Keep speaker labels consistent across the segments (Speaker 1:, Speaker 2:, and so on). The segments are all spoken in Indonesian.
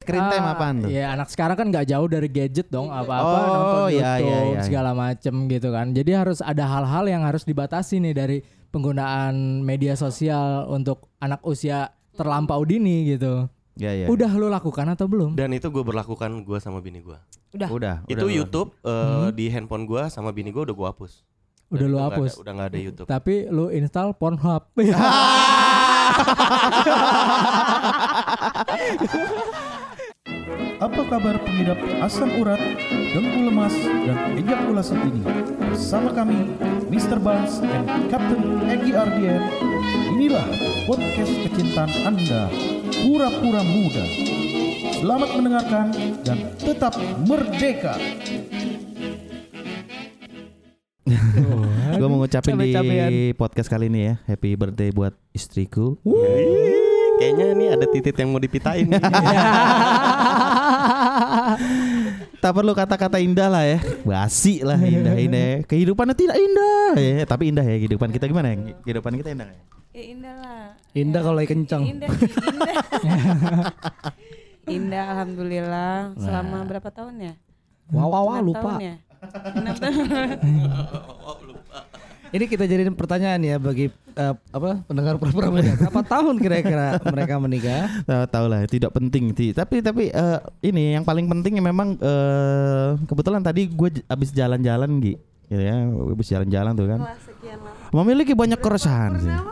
Speaker 1: Screen time apaan tuh?
Speaker 2: Ya anak sekarang kan nggak jauh dari gadget dong apa-apa
Speaker 1: Oh,
Speaker 2: nonton YouTube
Speaker 1: iya, iya, iya.
Speaker 2: segala macem gitu kan. Jadi harus ada hal-hal yang harus dibatasi nih dari penggunaan media sosial untuk anak usia terlampau dini gitu.
Speaker 1: Ya ya.
Speaker 2: Udah lu lakukan atau belum?
Speaker 3: Dan itu gue berlakukan gue sama bini gue.
Speaker 1: Udah. Udah.
Speaker 3: Itu
Speaker 1: udah.
Speaker 3: YouTube eh, di handphone gue sama bini gue udah gue hapus.
Speaker 2: Udah
Speaker 3: Dan
Speaker 2: lu
Speaker 3: itu nggak
Speaker 2: hapus.
Speaker 3: ada- udah nggak ada YouTube.
Speaker 2: Tapi lu install Pornhub. Iya.
Speaker 4: Apa kabar pengidap asam urat, dengkul lemas, dan ejakulasi ini? Bersama kami, Mr. Bans and Captain Egi Ardian. Inilah podcast kecintaan Anda, Pura-Pura Muda. Selamat mendengarkan dan tetap merdeka.
Speaker 1: Gue mau ngucapin di
Speaker 2: Capek-capean.
Speaker 1: podcast kali ini ya Happy birthday buat istriku
Speaker 3: Ih, Kayaknya nih ada titik yang mau dipitain. nih.
Speaker 1: Tak perlu kata-kata indah lah ya Basi lah indah-indah ya. Kehidupannya tidak indah ya, Tapi indah ya kehidupan kita gimana ya Kehidupan kita indah ya
Speaker 5: Ya indah lah. Ya,
Speaker 6: Indah kalau lagi kenceng.
Speaker 5: Indah, sih, indah. indah alhamdulillah selama berapa tahun ya?
Speaker 6: Wah, wah, wah,
Speaker 5: Enam tahun
Speaker 6: lupa.
Speaker 5: ya? Enam tahun.
Speaker 6: Ini kita jadiin pertanyaan ya bagi eh, apa pendengar pura-pura muda. Berapa tahun kira-kira mereka menikah?
Speaker 1: Tahu Eh, tahu lah tidak penting Ti. tapi tapi eh, ini yang paling penting ya memang eh, kebetulan tadi gue abis jalan-jalan Gi gitu ya abis jalan-jalan tuh kan
Speaker 5: Setelah sekian lama.
Speaker 1: memiliki banyak keresahan sih.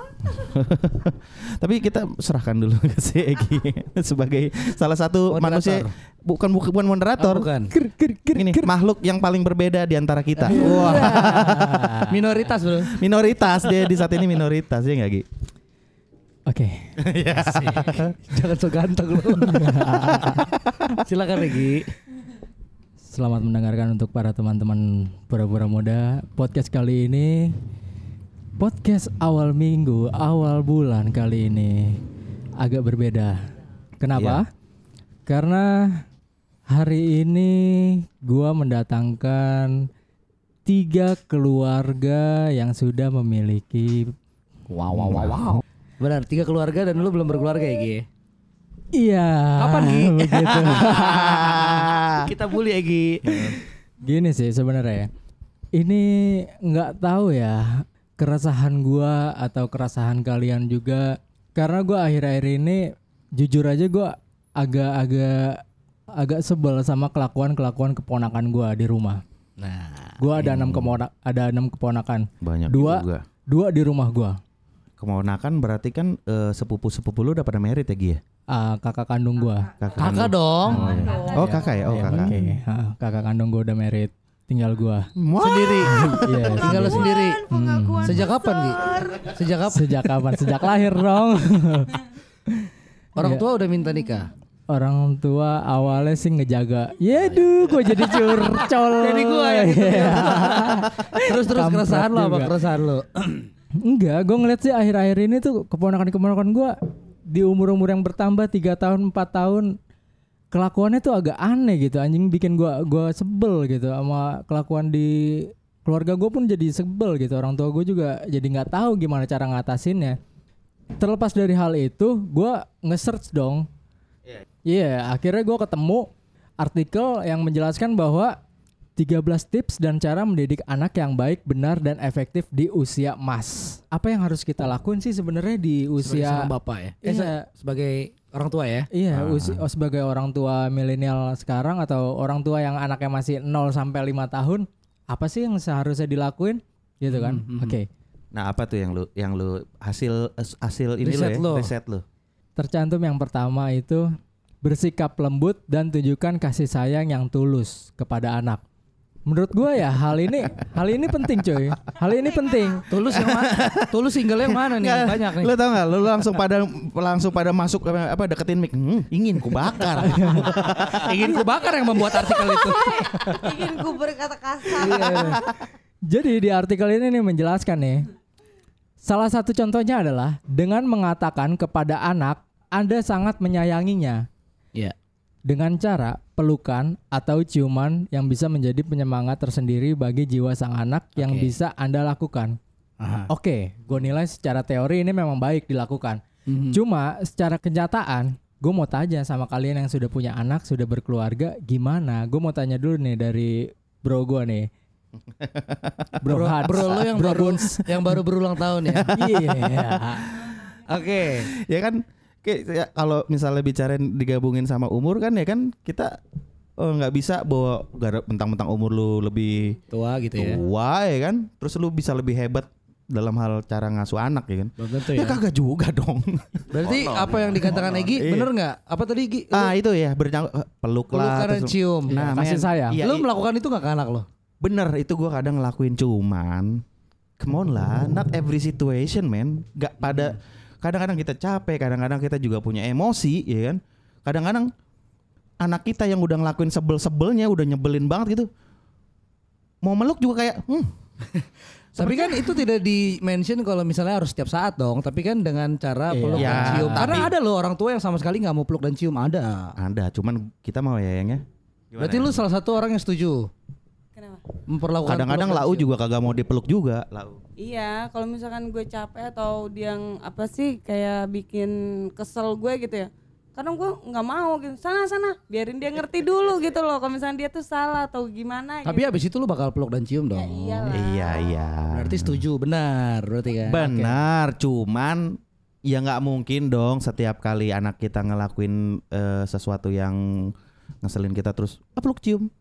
Speaker 1: Tapi kita serahkan dulu ke si Egi sebagai salah satu
Speaker 6: Moderator.
Speaker 1: manusia bukan bukan, bukan moderator.
Speaker 6: Oh, bukan.
Speaker 1: Ini makhluk yang paling berbeda di antara kita. Oh,
Speaker 6: Wah.
Speaker 1: Iya.
Speaker 6: Minoritas, Bro.
Speaker 1: minoritas dia di saat ini minoritas ya nggak Gi?
Speaker 2: Oke.
Speaker 6: Jangan so ganteng lu. Silakan Egi.
Speaker 2: Selamat mendengarkan untuk para teman-teman pura-pura muda. Podcast kali ini podcast awal minggu, awal bulan kali ini agak berbeda.
Speaker 6: Iya.
Speaker 2: Kenapa? Karena hari ini gua mendatangkan tiga keluarga yang sudah memiliki wow wow wow, wow.
Speaker 6: Benar, tiga keluarga dan lu belum berkeluarga ya, Gi?
Speaker 2: Iya.
Speaker 6: Kapan, Gi?
Speaker 2: Begitu.
Speaker 6: Kita bully ya, Egi.
Speaker 2: Gini sih sebenarnya. ya. Ini nggak tahu ya keresahan gua atau keresahan kalian juga karena gua akhir-akhir ini jujur aja gua agak-agak agak sebel sama kelakuan-kelakuan keponakan gua di rumah.
Speaker 6: Nah,
Speaker 2: Gua ada enam kepona- ada enam keponakan.
Speaker 1: Banyak
Speaker 2: Dua.
Speaker 1: juga.
Speaker 2: Dua di rumah gua.
Speaker 1: Kemonakan berarti kan eh, sepupu-sepupu lu udah pada merit ya Gi ya?
Speaker 2: Ah, kakak kandung gua.
Speaker 6: kakak dong.
Speaker 1: Oh kakak ya? Oh kakak.
Speaker 2: Oke, ah, kakak kandung gua udah merit. Tinggal gua.
Speaker 6: Sendiri.
Speaker 2: Iya.
Speaker 6: Tinggal lu sendiri. Hmm. Sejak kapan, Gi? Sejak kapan?
Speaker 2: Sejak kapan? Sejak lahir dong.
Speaker 6: Orang
Speaker 1: Iya.
Speaker 6: tua udah minta nikah.
Speaker 2: orang tua awalnya sih ngejaga. Yeduh, gue jadi curcol.
Speaker 6: Jadi gua yang gitu.
Speaker 2: Iya.
Speaker 6: Terus terus
Speaker 2: Kampret
Speaker 6: keresahan lo apa
Speaker 2: juga.
Speaker 6: keresahan lo?
Speaker 2: Enggak, gue ngeliat sih akhir-akhir ini tuh keponakan-keponakan gue di umur-umur yang bertambah 3 tahun, 4 tahun kelakuannya tuh agak aneh gitu. Anjing bikin gua gua sebel gitu sama kelakuan di keluarga gue pun jadi sebel gitu. Orang tua gue juga jadi nggak tahu gimana cara ngatasinnya. Terlepas dari hal itu, gua nge-search dong. Iya, akhirnya gua ketemu artikel yang menjelaskan bahwa 13 tips dan cara mendidik anak yang baik, benar dan efektif di usia emas. Apa yang harus kita lakuin sih sebenarnya di usia
Speaker 6: seorang bapak ya. Eh,
Speaker 2: Iya.
Speaker 6: se- sebagai orang tua ya.
Speaker 2: Iya, usi- oh, sebagai orang tua milenial sekarang atau orang tua yang anaknya masih 0 sampai 5 tahun, apa sih yang seharusnya dilakuin? Gitu kan?
Speaker 6: Mm-hmm.
Speaker 2: Oke.
Speaker 1: Nah apa tuh yang lu yang lu hasil hasil ini lu
Speaker 6: Riset lu.
Speaker 1: ya? Riset lu.
Speaker 2: Tercantum yang pertama itu bersikap lembut dan tunjukkan kasih sayang yang tulus kepada anak. Menurut gua ya hal ini hal ini penting coy. Hal ini penting.
Speaker 6: Tulus yang mana? Tulus single yang mana nih? Banyak nih.
Speaker 1: Lu tau gak? Lu langsung pada langsung pada masuk apa apa, deketin mic. Hmm, ingin ku bakar.
Speaker 6: Ingin ku bakar yang membuat artikel itu.
Speaker 5: Bikin ku berkata kasar.
Speaker 2: Iya. Jadi di artikel ini nih menjelaskan nih. Salah satu contohnya adalah dengan mengatakan kepada anak Anda sangat menyayanginya
Speaker 6: Iya.
Speaker 2: dengan cara pelukan atau ciuman yang bisa menjadi penyemangat tersendiri bagi jiwa sang anak yang
Speaker 6: Oke.
Speaker 2: bisa Anda lakukan.
Speaker 6: Aha. Mhm.
Speaker 2: Oke, gue nilai secara teori ini memang baik dilakukan. Cuma secara kenyataan gue mau tanya sama kalian yang sudah punya anak, sudah berkeluarga, gimana? Gue mau tanya dulu nih dari bro gue nih. Bro,
Speaker 6: bro,
Speaker 2: Hats.
Speaker 6: bro lo yang
Speaker 2: Bro
Speaker 6: baru
Speaker 2: Guns.
Speaker 6: yang baru berulang tahun ya.
Speaker 2: Iya.
Speaker 6: Oke.
Speaker 1: ya kan kayak ya, kalau misalnya bicarain digabungin sama umur kan ya kan kita eh, nggak bisa bawa gara mentang-mentang umur lu lebih
Speaker 6: Tua gitu ya.
Speaker 1: tua ya kan terus lu bisa lebih hebat dalam hal cara ngasuh anak ya kan
Speaker 6: Belum tentu
Speaker 1: ya, kagak juga dong
Speaker 6: Berarti apa yang dikatakan
Speaker 1: Oh,
Speaker 6: Egi
Speaker 1: Iya.
Speaker 6: bener nggak? Apa tadi Egi?
Speaker 1: ah itu ya bernyang eh, peluk lah
Speaker 6: Pelukan dan
Speaker 1: terus-
Speaker 6: cium.
Speaker 1: nah
Speaker 2: Kasih
Speaker 1: men,
Speaker 2: sayang.
Speaker 1: iya,
Speaker 6: lo
Speaker 1: i-
Speaker 6: melakukan itu nggak ke anak lo?
Speaker 1: bener itu gua kadang ngelakuin cuman come on lah not every situation man nggak pada kadang-kadang kita capek kadang-kadang kita juga punya emosi ya kan kadang-kadang anak kita yang udah ngelakuin sebel-sebelnya udah nyebelin banget gitu mau meluk juga kayak hmm,
Speaker 6: Tapi kan itu tidak di mention kalau misalnya harus setiap saat dong. Tapi kan dengan cara peluk
Speaker 1: Iya.
Speaker 6: dan cium. Karena
Speaker 1: Tapi-
Speaker 6: ada loh orang tua yang sama sekali nggak mau peluk dan cium ada.
Speaker 1: ada cuman kita mau ya yang ya
Speaker 6: Berarti lu salah satu orang yang setuju
Speaker 5: Kenapa?
Speaker 6: memperlakukan.
Speaker 1: kadang-kadang
Speaker 6: peluk dan
Speaker 1: lau
Speaker 6: cium.
Speaker 1: juga kagak mau dipeluk juga lau
Speaker 5: Iya, kalau misalkan gue capek atau dia yang apa sih kayak bikin kesel gue gitu ya. Kadang gue nggak mau gitu. Sana sana, biarin dia ngerti dulu gitu loh. Kalau misalkan dia tuh salah atau gimana
Speaker 6: Tapi
Speaker 5: gitu.
Speaker 6: abis itu lu bakal peluk dan cium dong.
Speaker 5: Iyalah.
Speaker 1: iya iya
Speaker 6: Berarti setuju benar berarti kan.
Speaker 1: Benar, cuman ya nggak mungkin dong setiap kali anak kita ngelakuin eh, sesuatu yang ngeselin kita terus "Ah, peluk cium.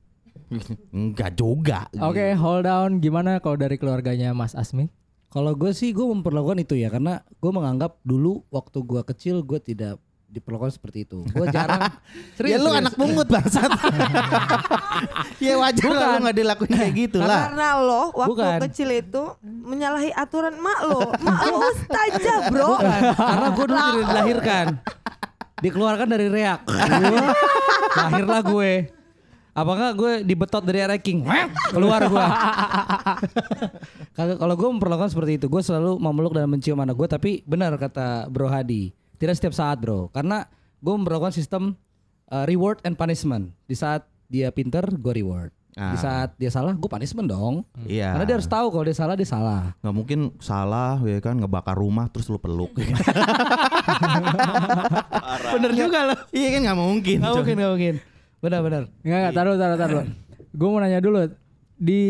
Speaker 1: Enggak juga.
Speaker 2: Oke, hold down. Gimana kalau dari keluarganya Mas Asmi?
Speaker 6: Kalau gue sih gue memperlakukan itu ya karena gue menganggap dulu waktu gue kecil gue tidak diperlakukan seperti itu. Gue jarang.
Speaker 1: ya lu anak pungut bangsat. ya wajar lah lu nggak dilakuin kayak gitu lah.
Speaker 7: Karena lo waktu
Speaker 6: Bukan.
Speaker 7: kecil itu
Speaker 5: Hmm.
Speaker 7: menyalahi aturan mak lo. Mak lo mustajab, Bro.
Speaker 6: Bukan, karena gue dulu tidak dilahirkan. Dikeluarkan dari reak. Gua- Lahirlah gue. Apa enggak gue dibetot dari ranking. Keluar gue. Kagak, Kalau gue memperlakukan seperti itu, gue selalu memeluk dan mencium anak gue. Tapi benar kata Bro Hadi, tidak setiap saat bro. Karena gue memperlakukan sistem uh, reward and punishment. Di saat dia pinter, gue reward.
Speaker 1: Ah.
Speaker 6: Di saat dia salah, gue punishment dong.
Speaker 1: Iya.
Speaker 6: Karena dia harus tahu kalau dia salah, dia salah.
Speaker 1: nggak mungkin salah ya kan ngebakar rumah terus lu peluk. ya kan? Bener juga lo. Iya kan nggak mungkin.
Speaker 6: Gak
Speaker 1: coy.
Speaker 6: mungkin, gak mungkin. Benar-benar.
Speaker 2: Enggak, enggak, taruh, taruh, taruh. Gue mau nanya dulu, di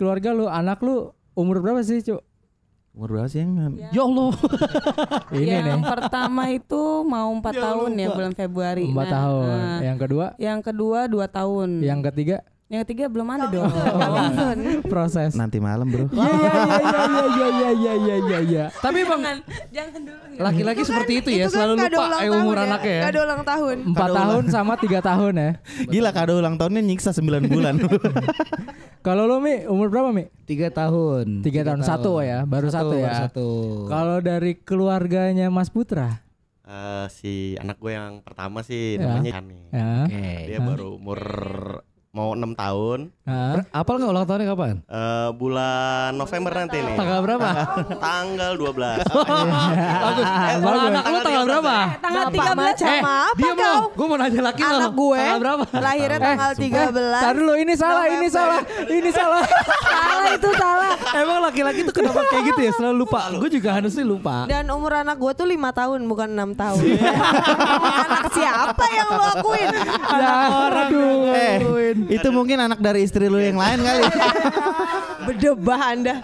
Speaker 2: keluarga lu, anak lu umur berapa sih, Cuk?
Speaker 1: Umur berapa sih yang
Speaker 6: Ya Allah.
Speaker 2: Ini nih,
Speaker 5: yang pertama itu mau empat tahun ya bulan Februari.
Speaker 2: 4
Speaker 5: Nah,
Speaker 2: tahun.
Speaker 5: nah.
Speaker 6: Ya.
Speaker 2: Yang kedua,
Speaker 5: Yang kedua dua tahun.
Speaker 2: yang ketiga
Speaker 5: Yang ketiga belum ada dong.
Speaker 6: Oh.
Speaker 2: proses.
Speaker 5: Nah.
Speaker 1: nanti malam bro?
Speaker 2: Iya, iya, iya, iya, iya, iya, iya, iya, iya.
Speaker 6: Tapi Bang,
Speaker 5: jangan, jangan dulu. ya.
Speaker 6: laki-laki seperti itu ya,
Speaker 7: kan
Speaker 6: selalu
Speaker 7: nggak ada
Speaker 6: lupa
Speaker 7: ulang
Speaker 6: eh, umur
Speaker 7: tahun ya,
Speaker 6: anaknya ya.
Speaker 7: nggak ada ulang tahun.
Speaker 2: Empat tahun sama tiga tahun ya.
Speaker 1: Gila kado ulang tahunnya nyiksa 9 bulan.
Speaker 2: Kalau lu Mi, umur berapa Mi?
Speaker 6: Tiga tahun.
Speaker 2: Tiga tahun. Satu ya, baru satu ya.
Speaker 6: baru Satu.
Speaker 2: Kalau dari keluarganya Mas Putra,
Speaker 3: Eh, si anak gue yang pertama sih
Speaker 2: Ya.
Speaker 3: namanya Ian nih.
Speaker 2: ya.
Speaker 6: Oke.
Speaker 3: Dia baru umur mau enam tahun.
Speaker 2: Hah?
Speaker 6: Ber- Apal nggak ulang tahunnya kapan?
Speaker 3: Eh, bulan November nanti nih.
Speaker 6: Tanggal berapa?
Speaker 3: Tanggal 12.
Speaker 2: Ah,
Speaker 6: Bagus. Eh, kalau anak lu tanggal berapa?
Speaker 7: Tanggal
Speaker 5: Bapak
Speaker 7: 13 sama apa
Speaker 6: diam
Speaker 7: kau?
Speaker 6: lo. Gue mau nanya laki lo.
Speaker 7: Anak gue
Speaker 6: Tanggal berapa?
Speaker 7: lahirnya
Speaker 6: Eh,
Speaker 7: tanggal 13.
Speaker 2: Tar dulu, ini salah, ini
Speaker 7: November.
Speaker 2: salah, ini salah.
Speaker 7: Salah itu salah.
Speaker 6: Emang laki-laki tuh kenapa kayak gitu ya? Selalu lupa. Gue juga harusnya lupa.
Speaker 7: Dan umur anak gue tuh 5 tahun bukan 6 tahun.
Speaker 6: Iya.
Speaker 7: anak siapa yang lo akuin?
Speaker 6: Iya.
Speaker 1: orang eh, itu mungkin anak dari istri lu yang lain kali
Speaker 7: Bedebah Anda.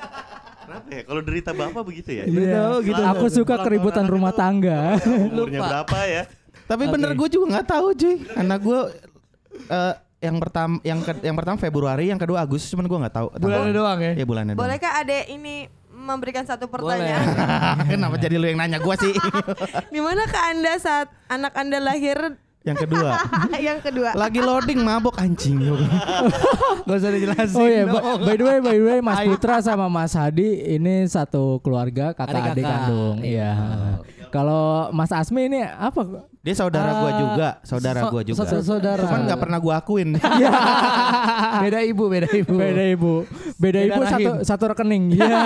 Speaker 3: Kenapa ya? Kalau derita bapak begitu ya?
Speaker 6: Gitu,
Speaker 2: Iya.
Speaker 3: Selalu
Speaker 2: Aku suka
Speaker 3: ulang
Speaker 2: keributan
Speaker 3: tahun anak
Speaker 2: rumah
Speaker 3: itu
Speaker 2: tangga.
Speaker 3: Umurnya berapa ya?
Speaker 1: tapi bener gue juga nggak tahu cuy anak gue eh, yang pertama yang ke- yang pertama Februari yang kedua Agustus cuman gue nggak tahu
Speaker 6: Bulannya doang ya?
Speaker 1: ya bulannya doang.
Speaker 7: Bolehkah Ade ini memberikan satu
Speaker 6: Boleh.
Speaker 7: pertanyaan?
Speaker 1: kenapa jadi lu yang nanya gue sih
Speaker 7: Gimana ke Anda saat anak Anda lahir
Speaker 1: yang kedua
Speaker 7: yang kedua?
Speaker 1: lagi loading mabok anjing
Speaker 6: Gak usah dijelasin.
Speaker 2: Oh iya, ba-
Speaker 6: dong.
Speaker 2: by the way, by the way, Mas Putra sama Mas Hadi ini satu keluarga kakak adik
Speaker 6: Adik-kakak.
Speaker 2: kandung. Iya. Kalau Mas Asmi ini apa?
Speaker 1: dia saudara gue juga saudara
Speaker 6: So-
Speaker 1: gue juga
Speaker 6: so- saudara. Iya,
Speaker 1: cuman nggak pernah gue akuin
Speaker 6: beda ibu, beda ibu.
Speaker 2: Beda ibu, beda
Speaker 6: Beda
Speaker 2: ibu
Speaker 6: rahim.
Speaker 2: satu satu rekening. Iya.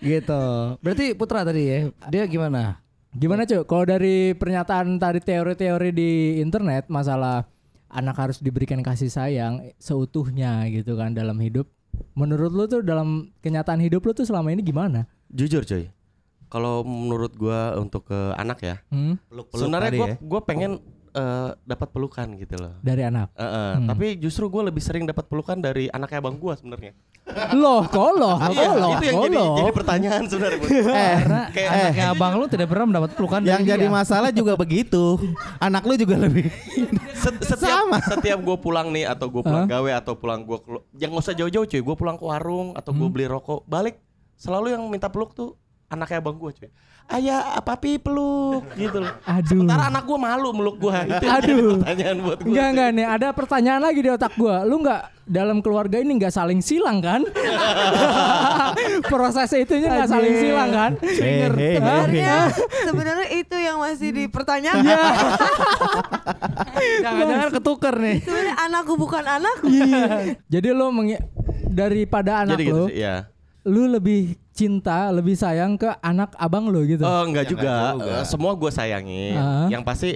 Speaker 6: gitu. Berarti Putra tadi ya. Dia gimana?
Speaker 2: Gimana cuy? Kalau dari pernyataan tadi teori-teori di internet masalah anak harus diberikan kasih sayang seutuhnya gitu kan dalam hidup. Menurut lu tuh dalam kenyataan hidup lu tuh selama ini gimana?
Speaker 3: Jujur coy Kalau menurut gua untuk ke anak ya,
Speaker 2: Hmm?
Speaker 1: Peluk-peluk
Speaker 3: sebenarnya
Speaker 1: tadi
Speaker 3: gua
Speaker 1: ya.
Speaker 3: gua pengen eh, dapat pelukan gitu loh.
Speaker 2: Dari anak.
Speaker 3: Eh, eh, Tapi justru gua lebih sering dapat pelukan dari anaknya abang gua sebenarnya.
Speaker 2: Loh,
Speaker 3: Oh,
Speaker 2: koloh, koloh,
Speaker 3: Iya, itu yang jadi,
Speaker 2: koloh.
Speaker 3: jadi pertanyaan sebenarnya. Bun.
Speaker 6: Karena
Speaker 3: Kayak- eh,
Speaker 6: anaknya Ya, abang lu tidak pernah mendapat pelukan
Speaker 1: Yang
Speaker 6: dari
Speaker 1: jadi
Speaker 6: dia.
Speaker 1: masalah juga begitu. Anak lu juga lebih.
Speaker 3: Set- setiap setiap gue pulang nih atau gue pulang gawe atau pulang gue yang nggak usah jauh-jauh cuy gue pulang ke warung atau gue beli rokok balik selalu yang minta peluk tuh anaknya abang gue cuy ayah papi peluk gitu loh
Speaker 2: Aduh.
Speaker 3: sementara anak gue malu meluk gue itu yang jadi
Speaker 2: Aduh.
Speaker 3: pertanyaan buat gue
Speaker 2: Enggak enggak nih, ada pertanyaan lagi di otak gua. Lu enggak dalam keluarga ini enggak saling silang kan? Proses itunya enggak saling silang kan?
Speaker 1: Trigger. Hey, hey, hey, hey.
Speaker 2: Hah?
Speaker 7: Sebenarnya, Iya. sebenarnya itu yang masih
Speaker 1: Hmm.
Speaker 7: dipertanyakan.
Speaker 1: Iya.
Speaker 6: Jangan-jangan ketuker nih.
Speaker 7: Sebenarnya anakku bukan anakku.
Speaker 1: Iya.
Speaker 2: Jadi lu mengi- daripada anak
Speaker 3: jadi gitu
Speaker 2: lu,
Speaker 3: sih ya
Speaker 2: lu lebih cinta, lebih sayang ke anak abang lu gitu.
Speaker 3: Oh enggak juga. Eh, semua gue sayangi.
Speaker 2: Ah.
Speaker 3: Yang pasti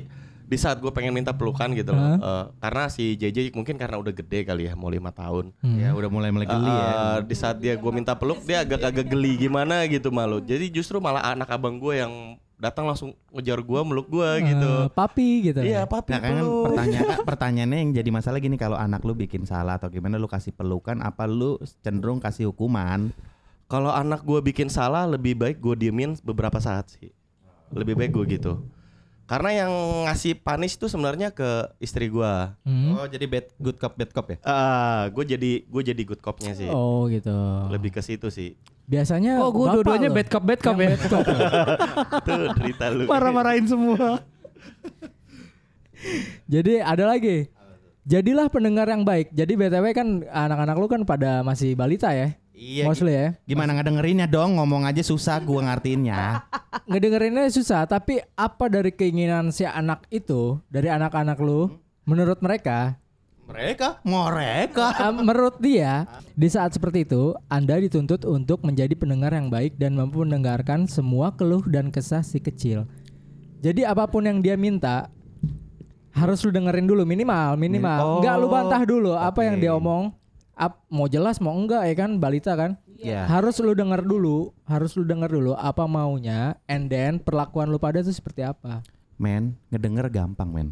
Speaker 3: di saat gue pengen minta pelukan gitu loh. Eh, karena si JJ mungkin karena udah gede kali ya, mau lima tahun.
Speaker 6: Hmm.
Speaker 1: Ya udah mulai mulai geli ya.
Speaker 3: Eh, di saat dia gue minta peluk dia agak-agak geli gimana gitu malu. Jadi justru malah anak abang gue yang datang langsung ngejar gue meluk gue gitu.
Speaker 2: Eh, papi gitu.
Speaker 3: Iya papi
Speaker 1: Nah, kan
Speaker 3: peluk.
Speaker 1: pertanyaan pertanyaannya yang jadi masalah gini kalau anak lu bikin salah atau gimana lu kasih pelukan apa lu cenderung kasih hukuman?
Speaker 3: Kalau anak gue bikin salah lebih baik gue diemin beberapa saat sih. Lebih baik gue gitu. Karena yang ngasih panis tuh sebenarnya ke istri gue.
Speaker 2: Hmm?
Speaker 1: Oh, jadi bad good cop bad cop ya?
Speaker 3: Ah, gue jadi gue jadi good copnya sih.
Speaker 2: Oh gitu.
Speaker 3: Lebih ke situ sih.
Speaker 2: Biasanya
Speaker 6: Oh, gue
Speaker 2: bapak
Speaker 6: dua-duanya
Speaker 2: lo
Speaker 6: bad cop bad cop
Speaker 2: yang
Speaker 6: ya.
Speaker 2: bad cop lo.
Speaker 3: Itu cerita lu.
Speaker 6: Marah-marahin semua.
Speaker 2: Jadi ada lagi. Jadilah pendengar yang baik. Jadi BTW kan anak-anak lu kan pada masih balita ya.
Speaker 1: Iya.
Speaker 2: Mostly ya.
Speaker 1: Gimana ngedengerinnya dong? Ngomong aja susah gua ngertiinnya.
Speaker 2: Ngedengerinnya susah, tapi apa dari keinginan si anak itu dari anak-anak lu menurut mereka
Speaker 1: Mereka, mereka.
Speaker 2: eh, menurut dia di saat seperti itu Anda dituntut untuk menjadi pendengar yang baik dan mampu mendengarkan semua keluh dan kesah si kecil. Jadi apapun yang dia minta harus lu dengerin dulu minimal minimal.
Speaker 1: Oh,
Speaker 2: Enggak lu bantah dulu apa yang
Speaker 1: oke.
Speaker 2: dia omong. Ap- mau jelas mau enggak ya kan balita kan?
Speaker 1: Iya.
Speaker 2: Harus lu denger dulu, harus lu denger dulu apa maunya and then perlakuan lu pada itu seperti apa.
Speaker 1: Men, ngedenger gampang, men.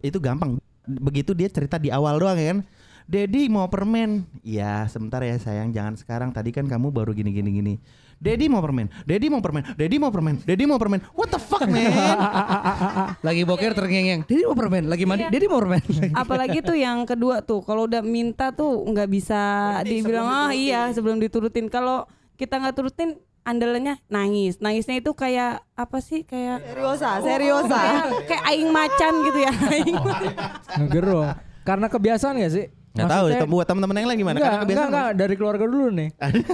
Speaker 1: Itu gampang. Begitu dia cerita di awal doang ya kan. Dedi mau permen. Iya, sebentar ya sayang, jangan sekarang. Tadi kan kamu baru gini gini gini. Dedi mau permen. Dedi mau permen. Dedi mau permen. Dedi mau permen. What the fuck, man?
Speaker 6: Lagi boker terngeng-ngeng. Dedi mau permen. Lagi mandi. Dedi mau permen.
Speaker 5: Apalagi tuh yang kedua tuh kalau udah minta tuh nggak bisa dibilang oh iya sebelum diturutin. Kalau kita nggak turutin andalannya nangis. Nangisnya itu kayak apa sih kayak Oh,
Speaker 7: Seriosa, seriosa.
Speaker 5: kayak, kayak aing macan gitu ya. Aing
Speaker 2: Ngegerong. Karena kebiasaan gak sih?
Speaker 1: Enggak tahu
Speaker 2: Maksudnya-
Speaker 1: itu buat teman-teman yang lain gimana?
Speaker 2: Enggak,
Speaker 1: Karena kebiasaan kan?
Speaker 2: enggak, enggak, dari keluarga dulu nih.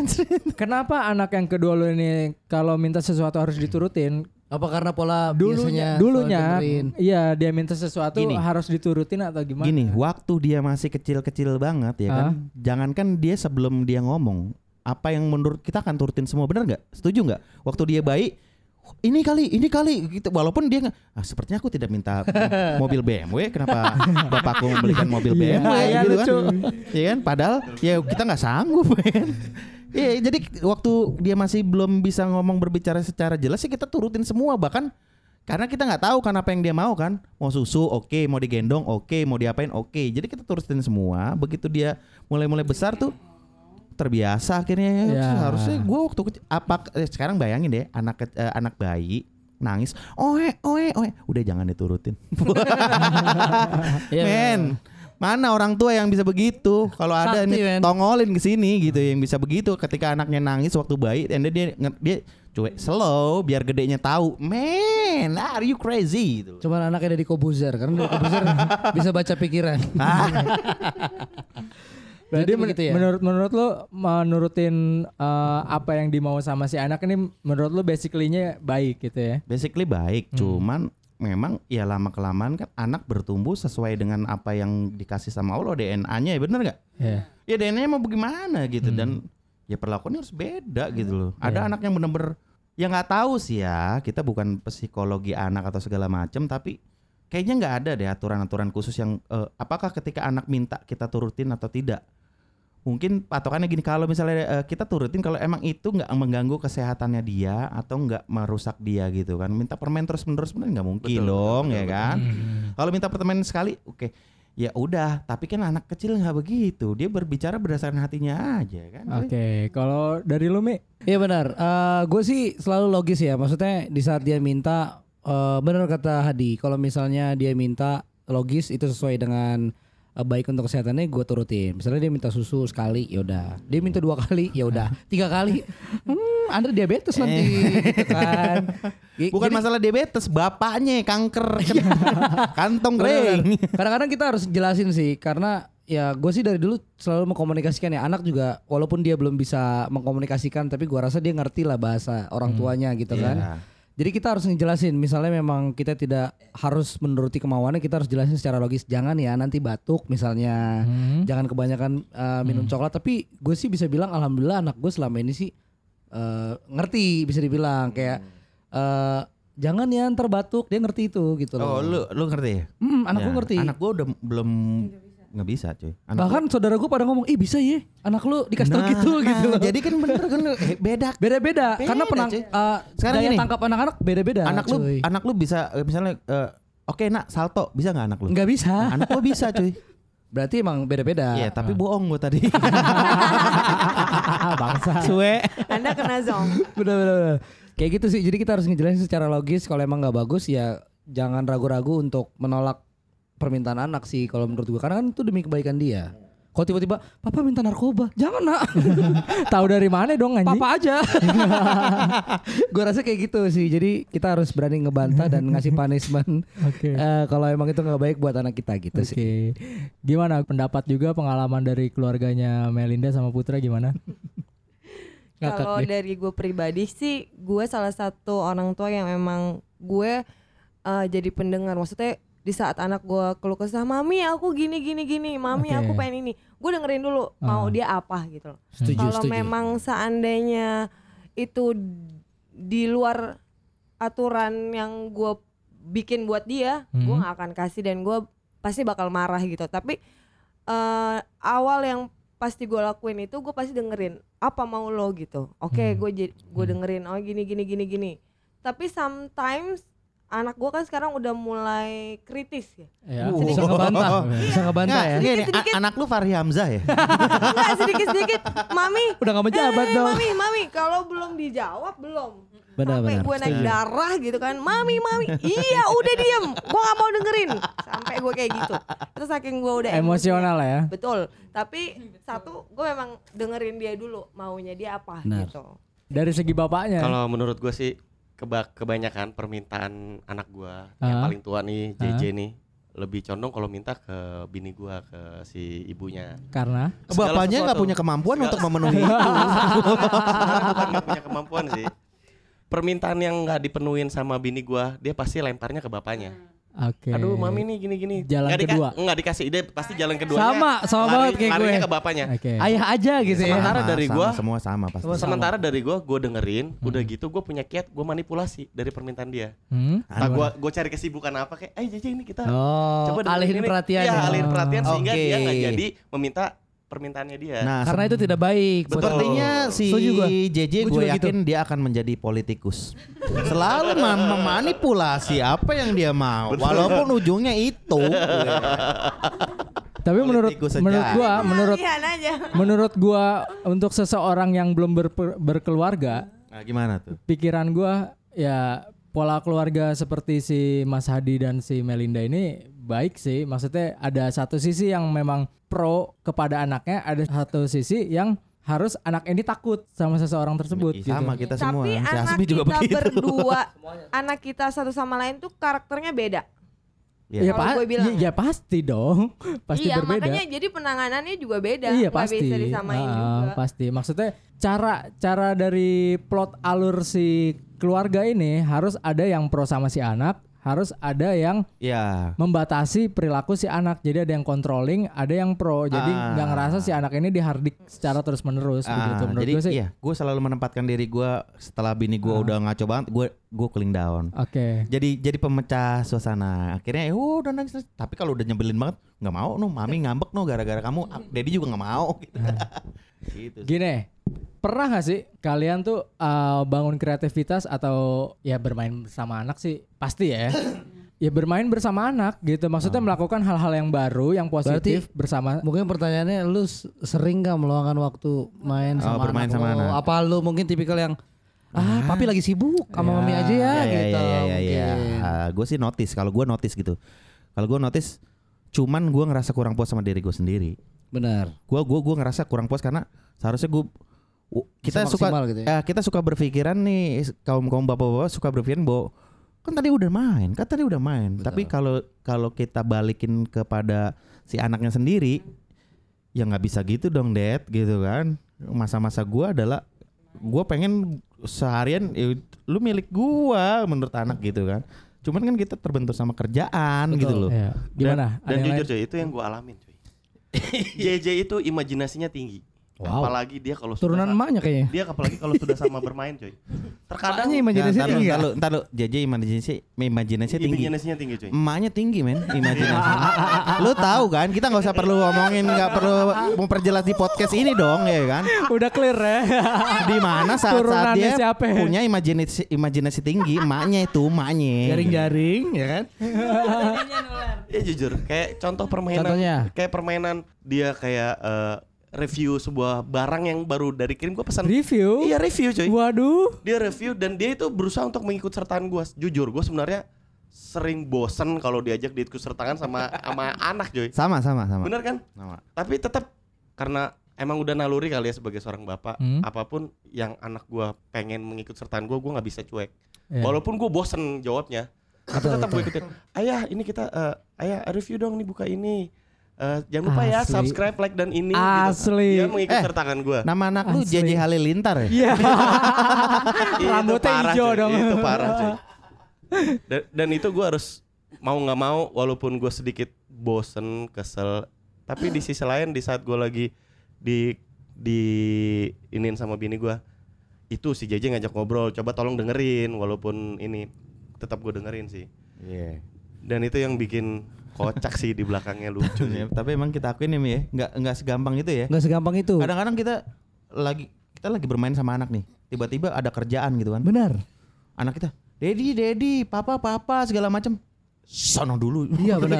Speaker 2: Kenapa anak yang kedua lu ini kalau minta sesuatu harus diturutin?
Speaker 6: Apa karena pola
Speaker 2: Dulunya,
Speaker 6: biasanya
Speaker 2: dulunya,
Speaker 6: selalu dengerin?
Speaker 2: iya dia minta sesuatu
Speaker 1: Gini.
Speaker 2: harus diturutin atau gimana?
Speaker 1: Gini, waktu dia masih kecil-kecil banget ya kan.
Speaker 2: Hah?
Speaker 1: Jangankan dia sebelum dia ngomong, apa yang menurut kita akan turutin semua benar nggak? Setuju nggak? Waktu
Speaker 2: Iya.
Speaker 1: dia bayi, ini kali, ini kali gitu. Walaupun dia nggak, "Ah, sepertinya aku tidak minta mobil BMW, kenapa bapakku membelikan mobil
Speaker 2: Iya,
Speaker 1: BMW
Speaker 2: iya,
Speaker 1: gitu
Speaker 2: lucu.
Speaker 1: kan? Iya kan? Padahal ya kita nggak sanggup kan. Iya, jadi waktu dia masih belum bisa ngomong berbicara secara jelas sih kita turutin semua bahkan karena kita nggak tahu kan apa yang dia mau kan mau susu oke mau digendong oke mau diapain oke jadi kita turutin semua begitu dia mulai mulai besar tuh terbiasa akhirnya ya.
Speaker 6: Iya.
Speaker 2: Ya.
Speaker 1: harusnya gue waktu kecil apa eh, sekarang bayangin deh anak ke- eh, anak bayi nangis oe oe oe udah jangan diturutin
Speaker 6: Iya,
Speaker 1: men mana orang tua yang bisa begitu kalau ada
Speaker 6: Sakti,
Speaker 1: ini
Speaker 6: men.
Speaker 1: tongolin ke sini gitu yang bisa begitu ketika anaknya nangis waktu bayi and then dia nge- dia cuek slow biar gedenya tahu men are you crazy gitu
Speaker 6: Cuman anaknya Deddy Kobuzer Karena Deddy Kobuzer bisa baca pikiran
Speaker 2: Jadi
Speaker 6: Jadi
Speaker 2: men-
Speaker 6: begitu ya?
Speaker 2: menurut menurut lo menurutin eh, apa yang dimau sama si anak ini menurut lo basically-nya baik gitu ya?
Speaker 1: basically baik cuman memang ya lama kelamaan kan anak bertumbuh sesuai dengan apa yang dikasih sama Allah DNA-nya ya bener nggak
Speaker 2: Iya.
Speaker 1: ya DNA-nya mau bagaimana gitu
Speaker 3: Hmm.
Speaker 1: dan ya perlakuannya harus beda gitu loh
Speaker 3: Iya.
Speaker 1: ada anak yang bener-bener ya nggak tahu sih ya kita bukan psikologi anak atau segala macam tapi kayaknya nggak ada deh aturan-aturan khusus yang eh, apakah ketika anak minta kita turutin atau tidak mungkin patokannya gini kalau misalnya eh, kita turutin kalau emang itu nggak mengganggu kesehatannya dia atau nggak merusak dia gitu kan minta permen terus menerus bener nggak mungkin
Speaker 3: Betul, betul,
Speaker 1: dong ya
Speaker 3: betul, betul.
Speaker 1: kan
Speaker 6: Hmm.
Speaker 1: kalau minta permen sekali oke ya udah tapi kan anak kecil nggak begitu dia berbicara berdasarkan hatinya aja kan
Speaker 2: Oke, kalau dari lu Mi
Speaker 6: Iya benar. Eh gue sih selalu logis ya. Maksudnya di saat dia minta, eh benar kata Hadi. Kalau misalnya dia minta logis itu sesuai dengan eh, baik untuk kesehatannya, gue turutin. Misalnya dia minta susu sekali, ya udah. Dia minta dua kali, ya udah. Tiga kali, hmm, anda diabetes nanti, gitu kan? Gi-
Speaker 1: bukan
Speaker 6: jadi- Iya.
Speaker 1: masalah diabetes bapaknya kanker kantong kering
Speaker 6: Bener-bener. Kadang-kadang kita harus jelasin sih karena ya gue sih dari dulu selalu mengkomunikasikan ya anak juga walaupun dia belum bisa mengkomunikasikan tapi gua rasa dia ngerti lah bahasa
Speaker 1: Hmm.
Speaker 6: orang tuanya gitu
Speaker 1: Iya.
Speaker 6: kan. Jadi kita harus ngejelasin misalnya memang kita tidak harus menuruti kemauannya kita harus jelasin secara logis jangan ya nanti batuk misalnya
Speaker 1: Hmm.
Speaker 6: jangan kebanyakan uh, minum coklat tapi gue sih bisa bilang alhamdulillah anak gue selama ini sih uh, ngerti bisa dibilang kayak
Speaker 1: Hmm.
Speaker 6: uh, jangan ya ntar batuk dia ngerti itu gitu loh.
Speaker 1: oh lu lu ngerti ya?
Speaker 6: Hmm, anak
Speaker 1: Ya,
Speaker 6: gua ngerti.
Speaker 1: anak gua udah belum nggak bisa cuy anak
Speaker 6: Bahkan saudara gue pada ngomong, ih bisa ya, anak lu dikasih
Speaker 1: Nah.
Speaker 6: tau gitu gitu loh.
Speaker 1: Jadi kan bener kan lu- eh, beda.
Speaker 6: beda-beda,
Speaker 1: Beda,
Speaker 6: karena penang,
Speaker 1: cuy.
Speaker 6: eh,
Speaker 1: Sekarang
Speaker 6: daya
Speaker 1: gini.
Speaker 6: tangkap anak-anak beda-beda.
Speaker 1: anak lu anak lu bisa eh, misalnya eh, oke nak salto bisa nggak anak lu?
Speaker 6: nggak bisa.
Speaker 1: Nah, anak gua bisa cuy.
Speaker 6: Berarti emang beda-beda.
Speaker 1: Iya tapi bohong gua tadi.
Speaker 2: bangsa.
Speaker 1: Suwe.
Speaker 7: Anda kena zong.
Speaker 6: Bener-bener. Kayak gitu sih. Jadi kita harus ngejelasin secara logis. Kalau emang nggak bagus ya jangan ragu-ragu untuk menolak permintaan anak sih. Kalau menurut gue, karena kan itu demi kebaikan dia. Kalau tiba-tiba papa minta narkoba, jangan nak.
Speaker 2: Tahu dari mana dong anjing?
Speaker 6: Papa aja. gue rasa kayak gitu sih. Jadi kita harus berani ngebantah dan ngasih punishment.
Speaker 2: Oke.
Speaker 6: Eh, kalau emang itu nggak baik buat anak kita gitu
Speaker 2: Oke.
Speaker 6: sih.
Speaker 2: Gimana pendapat juga pengalaman dari keluarganya Melinda sama Putra gimana? Ngakak
Speaker 7: Kalau
Speaker 2: deh.
Speaker 7: dari gue pribadi sih, gue salah satu orang tua yang emang gue eh, jadi pendengar. Maksudnya di saat anak gue keluh kesah, mami aku gini gini gini, mami
Speaker 2: Oke. Ah.
Speaker 7: aku pengen ini. Gue dengerin dulu mau dia apa gitu loh.
Speaker 6: Setuju,
Speaker 7: Kalau
Speaker 6: setuju.
Speaker 7: memang seandainya itu di luar aturan yang gue bikin buat dia, gue
Speaker 6: Mhm.
Speaker 7: gak akan kasih dan gue pasti bakal marah gitu. Tapi eh, awal yang pasti gue lakuin itu gue pasti dengerin apa mau lo gitu. Oke,
Speaker 6: Mhm.
Speaker 7: gue je- gue dengerin. Oh gini gini gini gini. Tapi sometimes anak gue kan sekarang udah mulai kritis ya.
Speaker 2: Ya.
Speaker 6: Bisa ngebantah, bisa ngebantah ya.
Speaker 1: Nggak, ini
Speaker 7: Sedikit-sedikit.
Speaker 1: a- anak lu Fahri Hamzah ya?
Speaker 7: Enggak sedikit sedikit, mami.
Speaker 6: Udah nggak menjabat
Speaker 7: eh,
Speaker 6: dong.
Speaker 7: Mami, mami, kalau belum dijawab belum.
Speaker 6: Benar,
Speaker 7: Sampai
Speaker 6: benar.
Speaker 7: gue naik darah gitu kan, mami, mami. Iya, udah diem. Gue gak mau dengerin. Sampai gue kayak gitu. Terus saking gue udah
Speaker 2: Emosional lah ya.
Speaker 7: Betul. Tapi satu, gue memang dengerin dia dulu maunya dia apa
Speaker 6: Benar.
Speaker 7: gitu.
Speaker 2: Dari segi bapaknya.
Speaker 3: Kalau menurut gue sih keba- kebanyakan permintaan anak gua yang
Speaker 2: Ah.
Speaker 3: paling tua nih JJ nih lebih condong kalau minta ke bini gua ke si ibunya.
Speaker 2: Karena
Speaker 3: Segala
Speaker 1: Bapaknya nggak
Speaker 3: sesuatu.
Speaker 1: punya kemampuan
Speaker 3: Segala-
Speaker 1: untuk memenuhi itu.
Speaker 3: Sebenarnya bukan kan nggak punya kemampuan sih. Permintaan yang nggak dipenuhin sama bini gua, dia pasti lemparnya ke bapaknya.
Speaker 2: oke.
Speaker 3: Aduh, mami nih gini-gini.
Speaker 2: Jalan
Speaker 3: Nggak
Speaker 2: kedua.
Speaker 3: Nggak dikasih ide, pasti jalan kedua.
Speaker 6: Sama, sama banget kayak gue.
Speaker 3: ke bapaknya.
Speaker 2: Oke.
Speaker 6: Ayah aja gitu ya.
Speaker 3: Sementara dari
Speaker 1: sama,
Speaker 3: gua,
Speaker 1: semua sama pasti.
Speaker 3: Sementara dari gua, gua dengerin, udah gitu gua punya kiat, gua manipulasi dari permintaan dia.
Speaker 2: Hmm?
Speaker 3: Entah gua gua cari kesibukan apa kayak, "Eh, Jaja ini kita
Speaker 6: Oh,
Speaker 3: dengerin
Speaker 6: alihin
Speaker 3: ini."
Speaker 6: perhatian
Speaker 3: Iya,
Speaker 6: ya.
Speaker 3: alihin perhatian sehingga dia
Speaker 6: Oke.
Speaker 3: nggak jadi meminta permintaannya dia.
Speaker 1: Nah,
Speaker 6: Karena itu tidak baik. buat-
Speaker 1: Sepertinya si
Speaker 6: Setuju gua.
Speaker 1: JJ
Speaker 6: Gua
Speaker 1: gue
Speaker 6: juga
Speaker 1: yakin dia akan menjadi politikus. Selalu mem- memanipulasi apa yang dia mau, walaupun ujungnya itu.
Speaker 2: Tapi menurut
Speaker 1: Politikus aja.
Speaker 2: menurut gua,
Speaker 7: Nah,
Speaker 2: menurut
Speaker 7: lihat aja.
Speaker 2: menurut gua untuk seseorang yang belum berpe- berkeluarga,
Speaker 1: Nah, gimana tuh?
Speaker 2: pikiran gua ya pola keluarga seperti si Mas Hadi dan si Melinda ini baik sih. Maksudnya ada satu sisi yang memang pro kepada anaknya, ada satu sisi yang harus anak ini takut sama seseorang
Speaker 1: Ih,
Speaker 2: tersebut. gitu.
Speaker 1: Sama kita semua.
Speaker 7: Tapi
Speaker 1: Si
Speaker 7: anak
Speaker 1: Hasbi
Speaker 7: kita berdua, anak kita satu sama lain tuh karakternya beda.
Speaker 2: Ya,
Speaker 1: Iya.
Speaker 7: Kalau
Speaker 2: pa-
Speaker 7: gua bilang.
Speaker 2: ya- ya pasti dong, pasti
Speaker 7: iya,
Speaker 2: berbeda.
Speaker 7: makanya jadi penanganannya juga beda.
Speaker 2: Iya
Speaker 7: Nggak
Speaker 2: pasti.
Speaker 7: bisa disamain
Speaker 2: Ah,
Speaker 7: juga.
Speaker 2: Pasti. Maksudnya cara cara dari plot alur si keluarga ini harus ada yang pro sama si anak, harus ada yang
Speaker 1: Ya.
Speaker 2: membatasi perilaku si anak. Jadi ada yang controlling, ada yang pro. Jadi
Speaker 1: Ah.
Speaker 2: nggak ngerasa si anak ini dihardik secara terus menerus begitu.
Speaker 1: Ah,
Speaker 2: Menurut
Speaker 1: jadi
Speaker 2: gue sih.
Speaker 1: iya, gue selalu menempatkan diri gue setelah bini gue udah ngaco banget, gue gue cooling down
Speaker 2: Oke.
Speaker 1: jadi jadi pemecah suasana akhirnya ya udah nangis nangis. tapi kalau udah nyebelin banget nggak mau no mami ngambek no gara-gara kamu ah, daddy juga nggak mau gitu,
Speaker 8: Hmm.
Speaker 1: gitu sih.
Speaker 2: Gini, pernah gak sih kalian tuh uh, bangun kreativitas atau ya bermain bersama anak sih pasti ya. ya bermain bersama anak gitu. Maksudnya melakukan hal-hal yang baru, yang positif bersama.
Speaker 8: Mungkin pertanyaannya lu s- sering gak meluangkan waktu main
Speaker 1: Oh,
Speaker 8: sama
Speaker 1: bermain
Speaker 8: anak
Speaker 1: sama
Speaker 8: lu?
Speaker 1: anak.
Speaker 8: Apa lu mungkin tipikal yang ah, papi lagi sibuk
Speaker 6: Iya.
Speaker 8: sama mami aja ya, gitu. mungkin.
Speaker 1: gue Ah, sih notice kalau gue notice gitu kalau gue notice cuman gue ngerasa kurang puas sama diri gue sendiri
Speaker 6: Benar.
Speaker 1: gue gue gue ngerasa kurang puas karena seharusnya gue kita suka
Speaker 8: maksimal gitu ya.
Speaker 1: eh, kita suka berpikiran nih kaum kaum bapak bapak suka berpikiran bahwa kan tadi udah main kan tadi udah main tapi kalau kalau kita balikin kepada si anaknya sendiri ya nggak bisa gitu dong dad gitu kan masa-masa gue adalah gue pengen seharian "Ya, lu milik gue menurut anak gitu kan cuman kan kita terbentur sama kerjaan gitu
Speaker 8: Eh,
Speaker 1: loh
Speaker 2: Ya. Gimana? Ada
Speaker 3: Dan, dan
Speaker 2: yang
Speaker 3: jujur
Speaker 2: lain?
Speaker 3: cuy, itu yang gue alamin cuy. JJ itu imajinasinya tinggi.
Speaker 6: Wow.
Speaker 3: Apalagi dia kalau sudah-
Speaker 8: Turunan emaknya kayaknya.
Speaker 3: Dia apalagi kalau sudah sama bermain cuy. Terkadang
Speaker 8: Emaknya imajinasinya
Speaker 1: Nah,
Speaker 8: tinggi
Speaker 1: ntar
Speaker 8: gak?
Speaker 1: lu, ntar lu, JJ imajinasi, imajinasi tinggi.
Speaker 3: imajinasinya tinggi cuy.
Speaker 1: Emaknya tinggi men imajinasinya. Lu tahu kan kita nggak usah perlu ngomongin nggak perlu memperjelas di podcast ini dong ya kan.
Speaker 2: Udah clear ya.
Speaker 1: Di mana saat, saat
Speaker 2: Turunannya
Speaker 1: dia
Speaker 2: siapa?
Speaker 1: punya imajinasi imajinasi tinggi emaknya itu emaknya.
Speaker 8: Jaring-jaring ya kan?
Speaker 3: Ya jujur, kayak contoh permainan
Speaker 8: Contohnya?
Speaker 3: kayak permainan dia kayak eh, review sebuah barang yang baru dari kirim gue pesan.
Speaker 2: Review.
Speaker 3: Iya review cuy.
Speaker 2: Waduh.
Speaker 3: Dia review dan dia itu berusaha untuk mengikut sertaan gue. Jujur gue sebenarnya sering bosen kalau diajak diikut sertakan sama sama anak cuy.
Speaker 1: Sama sama sama.
Speaker 3: Bener kan?
Speaker 1: Sama.
Speaker 3: Tapi tetap karena emang udah naluri kali ya sebagai seorang bapak,
Speaker 2: Hmm.
Speaker 3: apapun yang anak gua pengen mengikut sertaan gua, gua nggak bisa cuek.
Speaker 2: Iya.
Speaker 3: Walaupun gua bosen jawabnya, tapi tetap gue ikutin. Ayah, ini kita, eh, ayah review dong nih buka ini. Eh, jangan lupa ya
Speaker 2: Asli.
Speaker 3: subscribe, like dan ini. gitu.
Speaker 2: Asli.
Speaker 3: Dia mengikut
Speaker 1: Eh.
Speaker 3: sertakan gua.
Speaker 1: Nama anak lu
Speaker 2: Asli.
Speaker 1: JJ Halilintar ya?
Speaker 2: Iya.
Speaker 3: Itu
Speaker 2: Rambutnya
Speaker 3: parah,
Speaker 2: hijau
Speaker 3: cuy.
Speaker 2: dong.
Speaker 3: Itu parah cuy. Dan, dan itu gua harus mau nggak mau, walaupun gua sedikit bosen, kesel, tapi di sisi lain di saat gua lagi di di inin sama bini gua itu si JJ ngajak ngobrol, coba tolong dengerin, walaupun ini tetap gue dengerin sih.
Speaker 1: Iya.
Speaker 3: Dan itu yang bikin kocak sih di belakangnya lucu.
Speaker 1: Ya,
Speaker 3: sih.
Speaker 1: Tapi emang kita akuin nih Mi, ya, nggak nggak segampang itu ya.
Speaker 6: Enggak segampang itu.
Speaker 1: Kadang-kadang kita lagi kita lagi bermain sama anak nih, tiba-tiba ada kerjaan gitu kan.
Speaker 6: Benar.
Speaker 1: anak kita Dedi, Dedi, Papa, Papa segala macam. Sono dulu.
Speaker 6: Iya benar.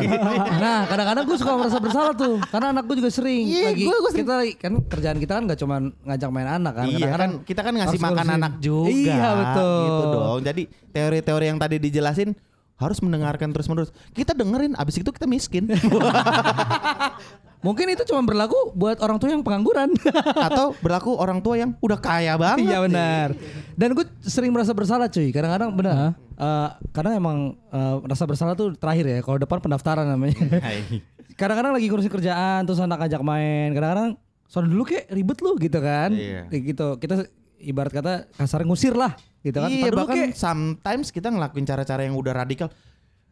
Speaker 6: nah kadang-kadang gue suka merasa bersalah tuh karena anak gue juga sering
Speaker 1: Iya,
Speaker 6: lagi
Speaker 1: gua- gua sering.
Speaker 6: kita lagi- kan kerjaan kita kan gak cuma ngajak main anak kan.
Speaker 1: Iya
Speaker 6: Kadang-kadang
Speaker 1: kan kita kan ngasih
Speaker 6: harus
Speaker 1: makan
Speaker 6: ngurusin.
Speaker 1: anak juga.
Speaker 6: Iya betul.
Speaker 1: Gitu dong. Jadi teori-teori yang tadi dijelasin harus mendengarkan terus-menerus. Kita dengerin abis itu kita miskin
Speaker 6: Mungkin itu cuma berlaku buat orang tua yang pengangguran.
Speaker 1: atau berlaku orang tua yang udah kaya banget.
Speaker 6: Iya benar. Dan gue sering merasa bersalah cuy. Kadang-kadang benar. Eh, kadang emang eh, rasa bersalah tuh terakhir ya. Kalau depan pendaftaran namanya. kadang-kadang lagi ngurusin kerjaan terus anak ajak main. Kadang-kadang soal dulu kayak ribet lu gitu kan.
Speaker 1: Iya.
Speaker 6: Kayak gitu. Kita ibarat kata kasar ngusir lah gitu kan.
Speaker 1: Iya,
Speaker 6: Ntar dulu
Speaker 1: bahkan
Speaker 6: kek.
Speaker 1: sometimes kita ngelakuin cara-cara yang udah radikal.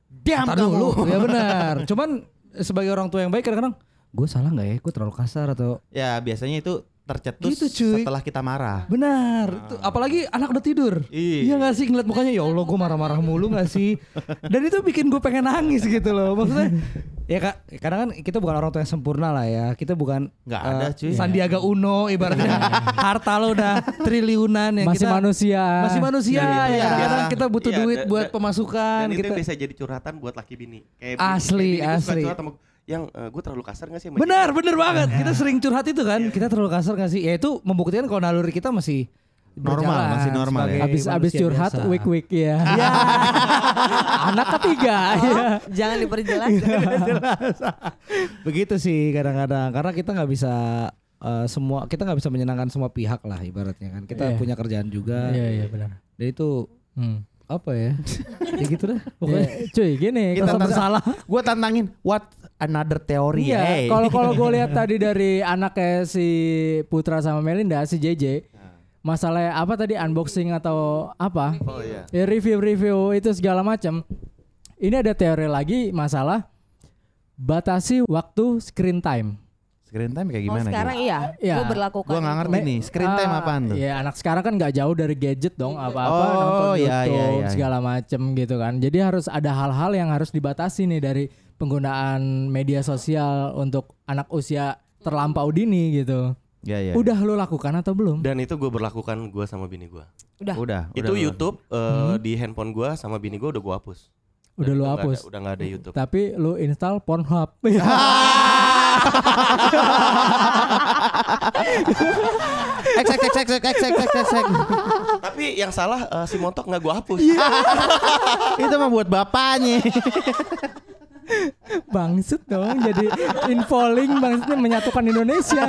Speaker 1: Diam
Speaker 6: Ntar
Speaker 1: kamu.
Speaker 6: dulu. ya benar. Cuman sebagai orang tua yang baik kadang-kadang gue salah nggak ya? Gue terlalu kasar atau
Speaker 1: Ya biasanya itu tercetus
Speaker 6: Gitu, cuy.
Speaker 1: setelah kita marah.
Speaker 6: Benar. Itu- Apalagi anak udah tidur.
Speaker 1: Ah. Iya.
Speaker 6: Iya gak sih ngeliat mukanya ya Allah gue marah-marah mulu gak sih. Dan itu bikin gue pengen nangis gitu loh. Maksudnya ya kak kadang kan kita bukan orang tua yang sempurna lah ya. Kita bukan
Speaker 1: Nggak ada,
Speaker 6: eh,
Speaker 1: cuy. Iya.
Speaker 6: Sandiaga Uno ibaratnya harta lo udah triliunan ya
Speaker 2: Masih
Speaker 6: kita
Speaker 2: manusia.
Speaker 6: masih manusia
Speaker 1: Iya,
Speaker 6: ya.
Speaker 1: iya.
Speaker 6: Kadang kita butuh
Speaker 3: Iya,
Speaker 6: duit
Speaker 3: dan-
Speaker 6: buat
Speaker 3: dan-
Speaker 6: pemasukan
Speaker 3: Dan itu
Speaker 6: Kan kita.
Speaker 3: yang bisa jadi curhatan buat laki bini. Kayak kayak bini
Speaker 6: Asli,
Speaker 3: gua suka
Speaker 6: asli.
Speaker 3: curhat sama gua, yang gue terlalu kasar gak sih? sama
Speaker 6: Benar,
Speaker 3: JJ?"
Speaker 6: benar banget.
Speaker 1: Iya.
Speaker 6: Kita sering curhat itu kan. Kita terlalu kasar gak sih? Ya itu membuktikan kalau naluri kita masih
Speaker 1: Normal,
Speaker 6: berjalan
Speaker 1: masih normal ya.
Speaker 6: sebagai
Speaker 2: Abis abis
Speaker 6: manusia
Speaker 2: curhat
Speaker 6: biasa.
Speaker 2: week week ya.
Speaker 8: Iya.
Speaker 2: anak ketiga ya.
Speaker 1: Iya.
Speaker 7: Jangan diperjelas.
Speaker 6: jelas. Begitu sih kadang-kadang karena kita nggak bisa eh, semua kita nggak bisa menyenangkan semua pihak lah ibaratnya kan. Kita
Speaker 2: Iya.
Speaker 6: punya kerjaan juga.
Speaker 2: Iya iya benar.
Speaker 6: Dan itu
Speaker 2: Hmm.
Speaker 6: apa ya? ya gitu deh.
Speaker 2: Pokoknya
Speaker 6: Pokoknya
Speaker 2: cuy gini
Speaker 1: Kita
Speaker 2: kalau
Speaker 1: tantang-
Speaker 6: bersalah.
Speaker 1: Gua tantangin what another theory.
Speaker 2: Iya,
Speaker 1: hey.
Speaker 2: kalau kalau gue lihat tadi dari anaknya si Putra sama Melinda si
Speaker 1: Iya.
Speaker 2: JJ, masalahnya apa tadi unboxing atau apa?
Speaker 3: Oh iya.
Speaker 2: Ya review-review itu segala macam. Ini ada teori lagi masalah batasi waktu screen time.
Speaker 1: Screen time kayak
Speaker 7: Kalau
Speaker 1: gimana?
Speaker 7: sekarang iya,
Speaker 2: Iya.
Speaker 7: gue
Speaker 1: Gue
Speaker 7: berlakukan.
Speaker 1: nggak ngerti
Speaker 2: Me-
Speaker 1: nih. Screen time
Speaker 2: Ah,
Speaker 1: apaan
Speaker 6: iya.
Speaker 1: tuh?
Speaker 2: Ya anak sekarang kan nggak jauh dari gadget dong apa-apa
Speaker 1: Oh,
Speaker 2: nonton
Speaker 1: iya,
Speaker 2: YouTube
Speaker 1: iya, iya.
Speaker 2: segala macem gitu kan. Jadi harus ada hal-hal yang harus dibatasi nih dari penggunaan media sosial untuk anak usia terlampau dini gitu.
Speaker 1: Ya, ya.
Speaker 2: Udah lo lakukan atau belum?
Speaker 3: Dan itu gue berlakukan gue sama bini gue.
Speaker 7: Udah.
Speaker 1: Udah.
Speaker 3: Itu
Speaker 1: udah.
Speaker 3: YouTube eh, di handphone gue sama bini gue udah gue hapus.
Speaker 2: Udah
Speaker 3: Dan itu
Speaker 2: lo
Speaker 3: nggak ada-
Speaker 2: hapus.
Speaker 3: udah nggak ada YouTube.
Speaker 2: Tapi lo install Pornhub. Ya,
Speaker 1: Ek, ek, ek, ek, ek, ek, ek, ek, ek, ek.
Speaker 3: Tapi yang salah eh, si motok nggak gue hapus.
Speaker 1: Itu mah buat bapaknya.
Speaker 2: Bangset dong jadi infoling bangsatnya menyatukan Indonesia.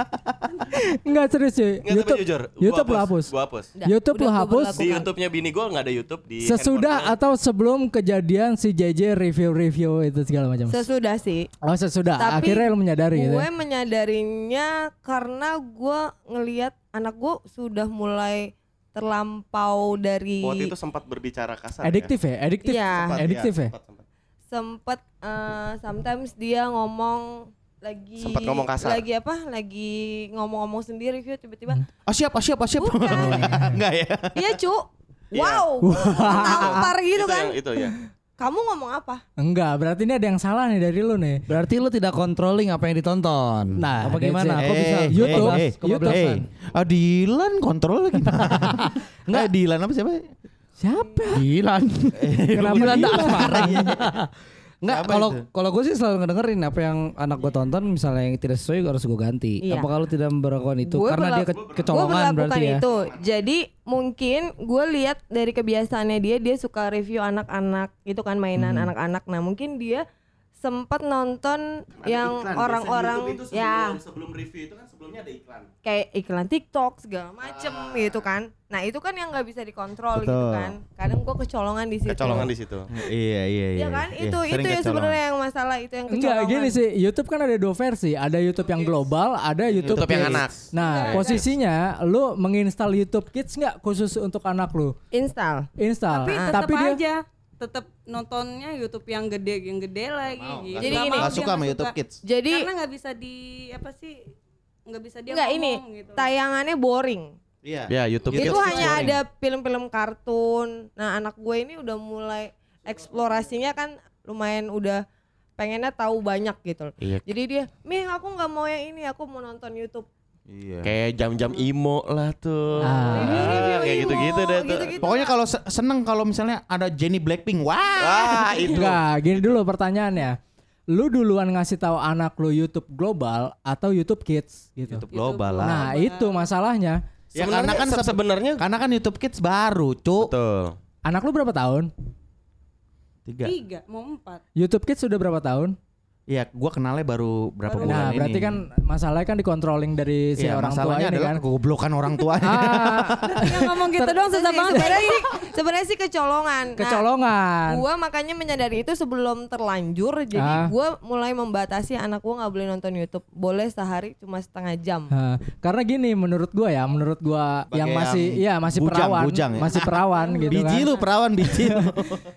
Speaker 2: Enggak serius cuy.
Speaker 3: Nggak tapi jujur. gua
Speaker 2: YouTube lo hapus.
Speaker 3: Gue hapus.
Speaker 7: Udah,
Speaker 2: YouTube
Speaker 7: udah
Speaker 2: lo
Speaker 7: gua
Speaker 2: hapus?
Speaker 7: berlakukan.
Speaker 3: Di YouTube-nya bini gue nggak ada YouTube di.
Speaker 2: Sesudah
Speaker 3: handphone-nya.
Speaker 2: atau sebelum kejadian si JJ review-review itu segala macam.
Speaker 7: Sesudah sih.
Speaker 2: oh sesudah.
Speaker 7: Tapi
Speaker 2: Akhirnya lo menyadari gitu.
Speaker 7: Gue
Speaker 2: ya?
Speaker 7: menyadarinya karena gue ngelihat anak gue sudah mulai terlampau dari
Speaker 3: waktu itu sempat berbicara kasar.
Speaker 2: Adiktif ya, adiktif.
Speaker 7: Iya.
Speaker 3: Sempat,
Speaker 2: Adiktif ya?
Speaker 3: sempat, sempat.
Speaker 7: sempet eh, sometimes dia ngomong lagi
Speaker 3: Sempet ngomong kasar.
Speaker 7: lagi apa lagi ngomong-ngomong sendiri Vio, tiba-tiba
Speaker 2: Hmm.
Speaker 1: Oh siap, oh siap, oh siap.
Speaker 7: bukan
Speaker 1: Enggak ya.
Speaker 7: iya cu
Speaker 3: Iya.
Speaker 7: wow tampar
Speaker 3: Itu
Speaker 7: gitu kan
Speaker 3: yang- Itu ya.
Speaker 7: kamu ngomong apa
Speaker 2: Enggak, berarti ini ada yang salah nih dari lo nih.
Speaker 6: Berarti lu tidak controlling apa yang ditonton.
Speaker 2: Nah,
Speaker 6: apa
Speaker 2: that's
Speaker 6: gimana?
Speaker 2: it.
Speaker 6: Kok bisa
Speaker 2: Eh, YouTube,
Speaker 1: eh,
Speaker 2: YouTube.
Speaker 1: eh. Ah, Dilan kontrol lagi. Enggak, Dilan apa siapa?
Speaker 2: Siapa?
Speaker 6: Gilan.
Speaker 2: Kenapa
Speaker 6: Gilan tak
Speaker 2: Gilan?
Speaker 6: asmara.
Speaker 1: Siapa
Speaker 6: Enggak, kalau
Speaker 1: itu?
Speaker 6: kalau gue sih selalu ngedengerin apa yang anak gue tonton misalnya yang tidak sesuai harus gue ganti.
Speaker 7: Iya.
Speaker 6: Apa kalau tidak memperlakukan itu
Speaker 7: Gue
Speaker 6: karena dia
Speaker 7: berlaku-
Speaker 6: ke-
Speaker 7: gue
Speaker 6: kecolongan
Speaker 7: berlakukan
Speaker 6: berarti ya.
Speaker 7: itu jadi mungkin gue lihat dari kebiasaannya dia dia suka review anak-anak itu kan mainan anak-anak nah mungkin dia sempat nonton yang orang-orang ya
Speaker 3: sebelum review itu kan sebelumnya ada iklan.
Speaker 7: kayak iklan TikTok segala macem gitu kan nah itu kan yang nggak bisa dikontrol gitu
Speaker 1: Betul.
Speaker 7: kan kadang gue kecolongan di situ
Speaker 3: Kecolongan di situ.
Speaker 1: Iya, iya, iya.
Speaker 7: ya kan
Speaker 1: iya.
Speaker 7: itu
Speaker 1: Sering
Speaker 7: itu ya
Speaker 1: kecolongan.
Speaker 7: sebenarnya yang masalah itu yang kecolongan
Speaker 2: Enggak gini sih, YouTube kan ada dua versi, ada YouTube yang global, ada YouTube,
Speaker 3: YouTube yang
Speaker 2: Kids.
Speaker 3: anak.
Speaker 2: Nah, posisinya lu menginstal YouTube Kids nggak khusus untuk anak lu?
Speaker 7: install
Speaker 2: Install.
Speaker 5: tapi
Speaker 2: Ah.
Speaker 5: tetap
Speaker 2: Tapi dia
Speaker 5: aja tetap nontonnya YouTube yang gede yang gede lagi gitu.
Speaker 7: Jadi gini.
Speaker 5: mau,
Speaker 1: Nggak
Speaker 5: dia
Speaker 1: suka sama
Speaker 5: nggak
Speaker 1: YouTube
Speaker 5: suka.
Speaker 1: Kids.
Speaker 7: jadi
Speaker 5: karena nggak bisa di apa sih nggak bisa dia
Speaker 7: enggak ini
Speaker 5: ngomong gitu.
Speaker 7: tayangannya boring
Speaker 1: Iya.
Speaker 3: Ya YouTube
Speaker 7: itu
Speaker 3: Kids.
Speaker 7: hanya ada film-film kartun nah anak gue ini udah mulai eksplorasinya kan lumayan udah pengennya tahu banyak gitu loh.
Speaker 3: Iya.
Speaker 7: jadi dia mih aku nggak mau yang ini aku mau nonton YouTube
Speaker 1: Iya.
Speaker 3: Kayak jam-jam imo lah tuh. Ah, kayak gitu-gitu deh tuh.
Speaker 7: Gitu-gitu.
Speaker 1: Pokoknya kalau se- seneng kalau misalnya ada Jenny Blackpink, wah.
Speaker 3: Wah, Ah, itu.
Speaker 2: enggak, gini dulu pertanyaannya. Lu duluan ngasih tahu anak lu YouTube global atau YouTube Kids gitu.
Speaker 3: YouTube global lah.
Speaker 2: Nah, itu masalahnya.
Speaker 1: Ya karena kan
Speaker 3: se-
Speaker 1: sebe-
Speaker 3: sebenarnya
Speaker 1: karena kan YouTube Kids baru, cuk.
Speaker 3: betul.
Speaker 2: Anak lu berapa tahun?
Speaker 1: Tiga.
Speaker 5: tiga mau empat
Speaker 2: YouTube Kids sudah berapa tahun?
Speaker 1: Iya, gua kenalnya baru berapa bulan
Speaker 2: Nah,
Speaker 1: Oh, ini.
Speaker 2: berarti kan masalahnya kan dikontrolling dari si
Speaker 1: Iya,
Speaker 2: orang tua
Speaker 1: masalahnya
Speaker 2: ini
Speaker 1: adalah Nah,
Speaker 2: kan. Ah,
Speaker 1: kegoblokan orang tua.
Speaker 5: Dia ngomong gitu
Speaker 7: Ter-
Speaker 5: doang susah
Speaker 7: sih,
Speaker 5: banget
Speaker 7: sebenarnya sih sebenarnya sih kecolongan Nah,
Speaker 2: Kecolongan.
Speaker 7: gua makanya menyadari itu sebelum terlanjur
Speaker 2: Ah.
Speaker 7: jadi gua mulai membatasi anak gua nggak boleh nonton YouTube boleh sehari cuma setengah jam
Speaker 2: Nah, karena gini menurut gua ya, menurut gua
Speaker 1: Sebagai
Speaker 2: yang masih ya
Speaker 1: yang
Speaker 2: masih
Speaker 1: bujang,
Speaker 2: perawan,
Speaker 1: bujang ya.
Speaker 2: masih perawan gitu
Speaker 1: biji
Speaker 2: kan.
Speaker 1: lu perawan biji lu.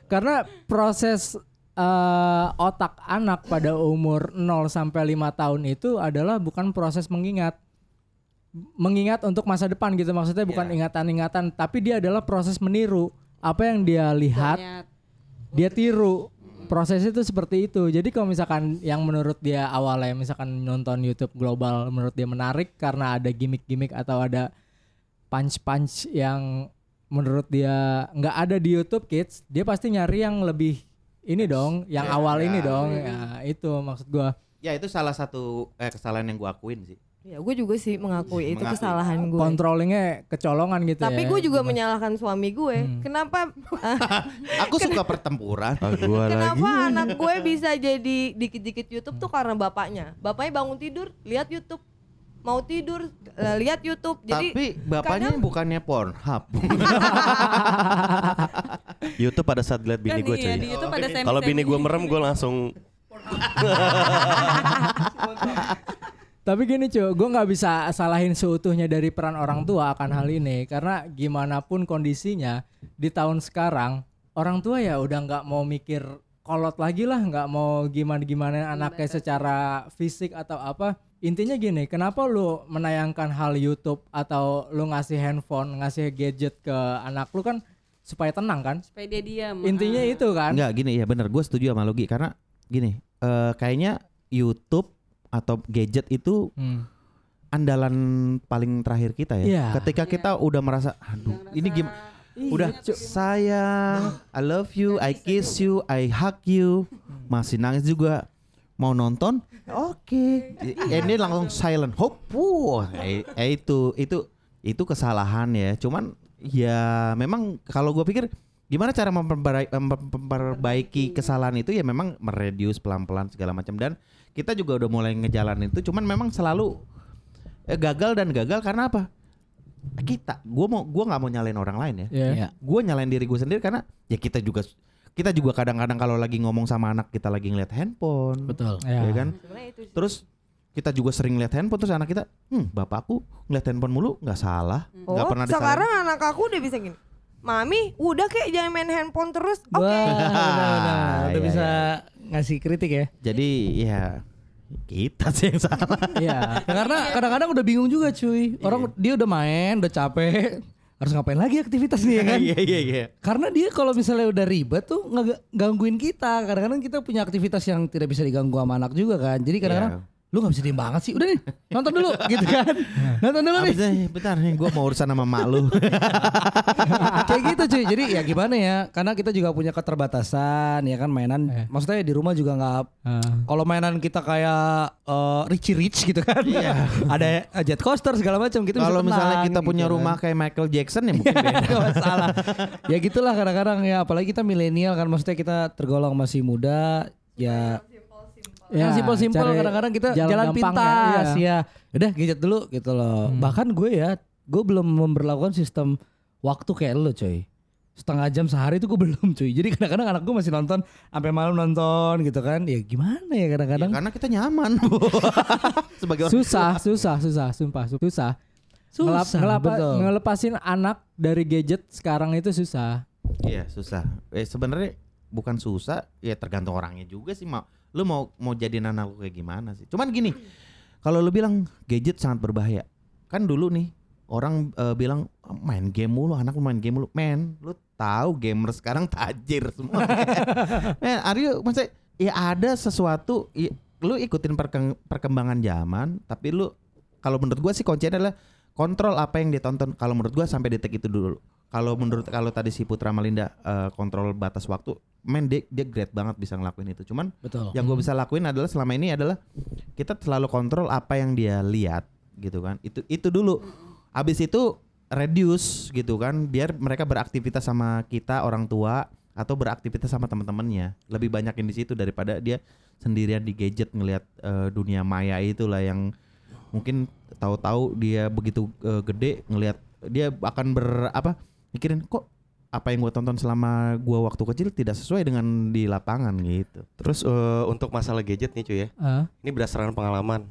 Speaker 2: Karena proses eh, otak anak pada umur 0 sampai 5 tahun itu adalah bukan proses mengingat. Mengingat untuk masa depan gitu maksudnya
Speaker 1: Iya.
Speaker 2: bukan ingatan-ingatan, tapi dia adalah proses meniru. Apa yang dia lihat
Speaker 5: Niat.
Speaker 2: dia tiru prosesnya itu seperti itu jadi kalau misalkan yang menurut dia awalnya misalkan nonton YouTube global menurut dia menarik karena ada gimmick-gimmick atau ada punch-punch yang menurut dia nggak ada di YouTube Kids dia pasti nyari yang lebih ini dong yang
Speaker 7: Iya,
Speaker 1: Ya,
Speaker 2: awal
Speaker 1: ya.
Speaker 2: ini dong ya, itu maksud gua
Speaker 1: ya itu salah satu eh, kesalahan yang gua akuin sih.
Speaker 7: ya gue juga sih mengakui itu
Speaker 1: Mengakui.
Speaker 7: kesalahan gue
Speaker 2: controllingnya kecolongan gitu
Speaker 7: tapi
Speaker 2: ya.
Speaker 1: Iya,
Speaker 7: gue juga menyalahkan suami gue
Speaker 1: Hmm.
Speaker 7: kenapa
Speaker 1: Aku suka pertempuran.
Speaker 3: Ah, gua lagi.
Speaker 7: kenapa anak gue bisa jadi dikit-dikit YouTube tuh karena bapaknya bapaknya bangun tidur lihat YouTube mau tidur eh, lihat YouTube jadi
Speaker 1: Tapi bapaknya
Speaker 7: kadang-
Speaker 1: bukannya Pornhub.
Speaker 3: YouTube pada saat lihat
Speaker 5: kan
Speaker 3: bini gue
Speaker 5: iya
Speaker 3: cuy.
Speaker 5: di YouTube ada semi
Speaker 3: Kalau bini gue merem gue langsung
Speaker 2: Tapi gini cuy, gue nggak bisa salahin seutuhnya dari peran orang tua akan hal ini karena gimana pun kondisinya di tahun sekarang orang tua ya udah nggak mau mikir kolot lagi lah nggak mau gimana gimana anaknya secara fisik atau apa intinya gini kenapa lu menayangkan hal YouTube atau lu ngasih handphone ngasih gadget ke anak lu kan supaya tenang kan
Speaker 5: supaya dia diam
Speaker 2: intinya
Speaker 5: Ah.
Speaker 2: itu kan
Speaker 6: Iya.
Speaker 1: Enggak gini ya bener gue setuju sama Logi karena gini eh, kayaknya YouTube atau gadget itu
Speaker 2: Hmm.
Speaker 1: andalan paling terakhir kita ya.
Speaker 2: Iya.
Speaker 1: Ketika
Speaker 5: Iya.
Speaker 1: kita udah merasa aduh
Speaker 5: Yang
Speaker 1: ini
Speaker 5: rasa-
Speaker 1: gimana udah sayang I love you I kiss you I hug you masih nangis juga mau nonton oke ini langsung silent hop wuh. eh, eh, itu itu itu kesalahan ya cuman ya memang kalau gue pikir gimana cara memperbaiki, memperbaiki kesalahan itu ya memang mereduce pelan-pelan segala macam dan kita juga udah mulai ngejalanin itu cuman memang selalu eh, gagal dan gagal karena apa kita gue mau gue nggak mau nyalain orang lain ya
Speaker 2: Iya.
Speaker 6: Iya.
Speaker 1: gue nyalain diri gue sendiri karena ya kita juga kita juga kadang-kadang kalau lagi ngomong sama anak kita lagi ngeliat handphone
Speaker 6: Betul.
Speaker 1: ya
Speaker 2: Ya.
Speaker 1: kan
Speaker 7: Sebenarnya itu sih.
Speaker 1: terus kita juga sering ngeliat handphone terus anak kita hmm bapakku ngeliat handphone mulu nggak salah nggak
Speaker 7: Oh,
Speaker 1: pernah disalahin."
Speaker 7: sekarang anak aku udah bisa gini. Mami, udah kayak jangan main handphone terus. Oke.
Speaker 6: Wah,
Speaker 1: Iya,
Speaker 6: Nah, udah bisa ngasih kritik ya.
Speaker 1: jadi ya kita sih yang salah
Speaker 2: Iya.
Speaker 6: Ya, karena kadang-kadang udah bingung juga cuy. Orang dia udah main, udah capek, harus ngapain lagi aktivitas nih ya kan?
Speaker 1: iya iya iya
Speaker 6: Karena dia kalau misalnya udah ribet tuh ngega- gangguin kita. Kadang-kadang kita punya aktivitas yang tidak bisa diganggu sama anak juga kan. Jadi kadang-kadang lu nggak bisa diem banget sih. Udah nih nonton dulu gitu kan. Nonton dulu nih.
Speaker 1: Abis itu, bentar nih gue mau urusan sama mak lu
Speaker 6: Kayak gitu cuy. Jadi ya gimana ya? Karena kita juga punya keterbatasan ya kan mainan.
Speaker 2: Eh.
Speaker 6: Maksudnya di rumah juga nggak.
Speaker 2: Ah.
Speaker 6: Kalau mainan kita kayak eh, Richie Rich gitu kan. Ada eh, jet coaster segala macam gitu. bisa
Speaker 1: Iya. kalau misalnya
Speaker 6: tenang,
Speaker 1: kita punya
Speaker 6: gitu kan.
Speaker 1: rumah kayak Michael Jackson ya mungkin beda
Speaker 6: Gak masalah. ya gitulah kadang-kadang ya apalagi kita milenial kan maksudnya kita tergolong masih muda ya yang simpel-simpel
Speaker 2: Ya, cari
Speaker 6: kadang-kadang kita jalan,
Speaker 2: gampang ya,
Speaker 6: pintas
Speaker 2: iya.
Speaker 6: ya. Udah gadget dulu gitu loh.
Speaker 2: Hmm.
Speaker 6: Bahkan gue ya, gue belum memperlakukan sistem waktu kayak lo coy. Setengah jam sehari itu gue belum cuy. Jadi kadang-kadang anak gue masih nonton sampai malam nonton gitu kan. Ya gimana
Speaker 1: Ya,
Speaker 6: ya kadang-kadang.
Speaker 1: karena kita nyaman sebagai orang
Speaker 2: susah, susah, susah, sumpah, su- susah.
Speaker 6: Susah,
Speaker 2: Ngelap- ngelapa-
Speaker 6: betul.
Speaker 2: ngelepasin anak dari gadget sekarang itu susah.
Speaker 1: Iya susah. Eh sebenarnya bukan susah, ya tergantung orangnya juga sih. Mau lu mau mau jadi anak lu kayak gimana sih? Cuman gini, kalau lu bilang gadget sangat berbahaya, kan dulu nih orang eh, bilang "Ah, main game mulu, anak lu main game mulu. Men, lu tahu gamer sekarang tajir semua. Men, are you maksudnya ya ada sesuatu i- lu ikutin perkeng- perkembangan zaman, tapi lu kalau menurut gua sih kuncinya adalah kontrol apa yang ditonton. Kalau menurut gua sampai detik itu dulu kalau menurut kalau tadi si Putra Melinda eh, kontrol batas waktu, men dia, dia great banget bisa ngelakuin itu. Cuman
Speaker 6: Betul.
Speaker 1: yang gue bisa lakuin adalah selama ini adalah kita selalu kontrol apa yang dia lihat gitu kan. Itu itu dulu. Abis itu reduce gitu kan, biar mereka beraktivitas sama kita orang tua atau beraktivitas sama teman-temannya. Lebih banyakin di situ daripada dia sendirian di gadget ngelihat eh, dunia maya itulah yang mungkin tahu-tahu dia begitu eh, gede ngelihat dia akan ber apa mikirin kok apa yang gue tonton selama gue waktu kecil tidak sesuai dengan di lapangan gitu.
Speaker 3: Terus eh, untuk masalah gadget nih cuy ya.
Speaker 2: Ah.
Speaker 3: Ini berdasarkan pengalaman.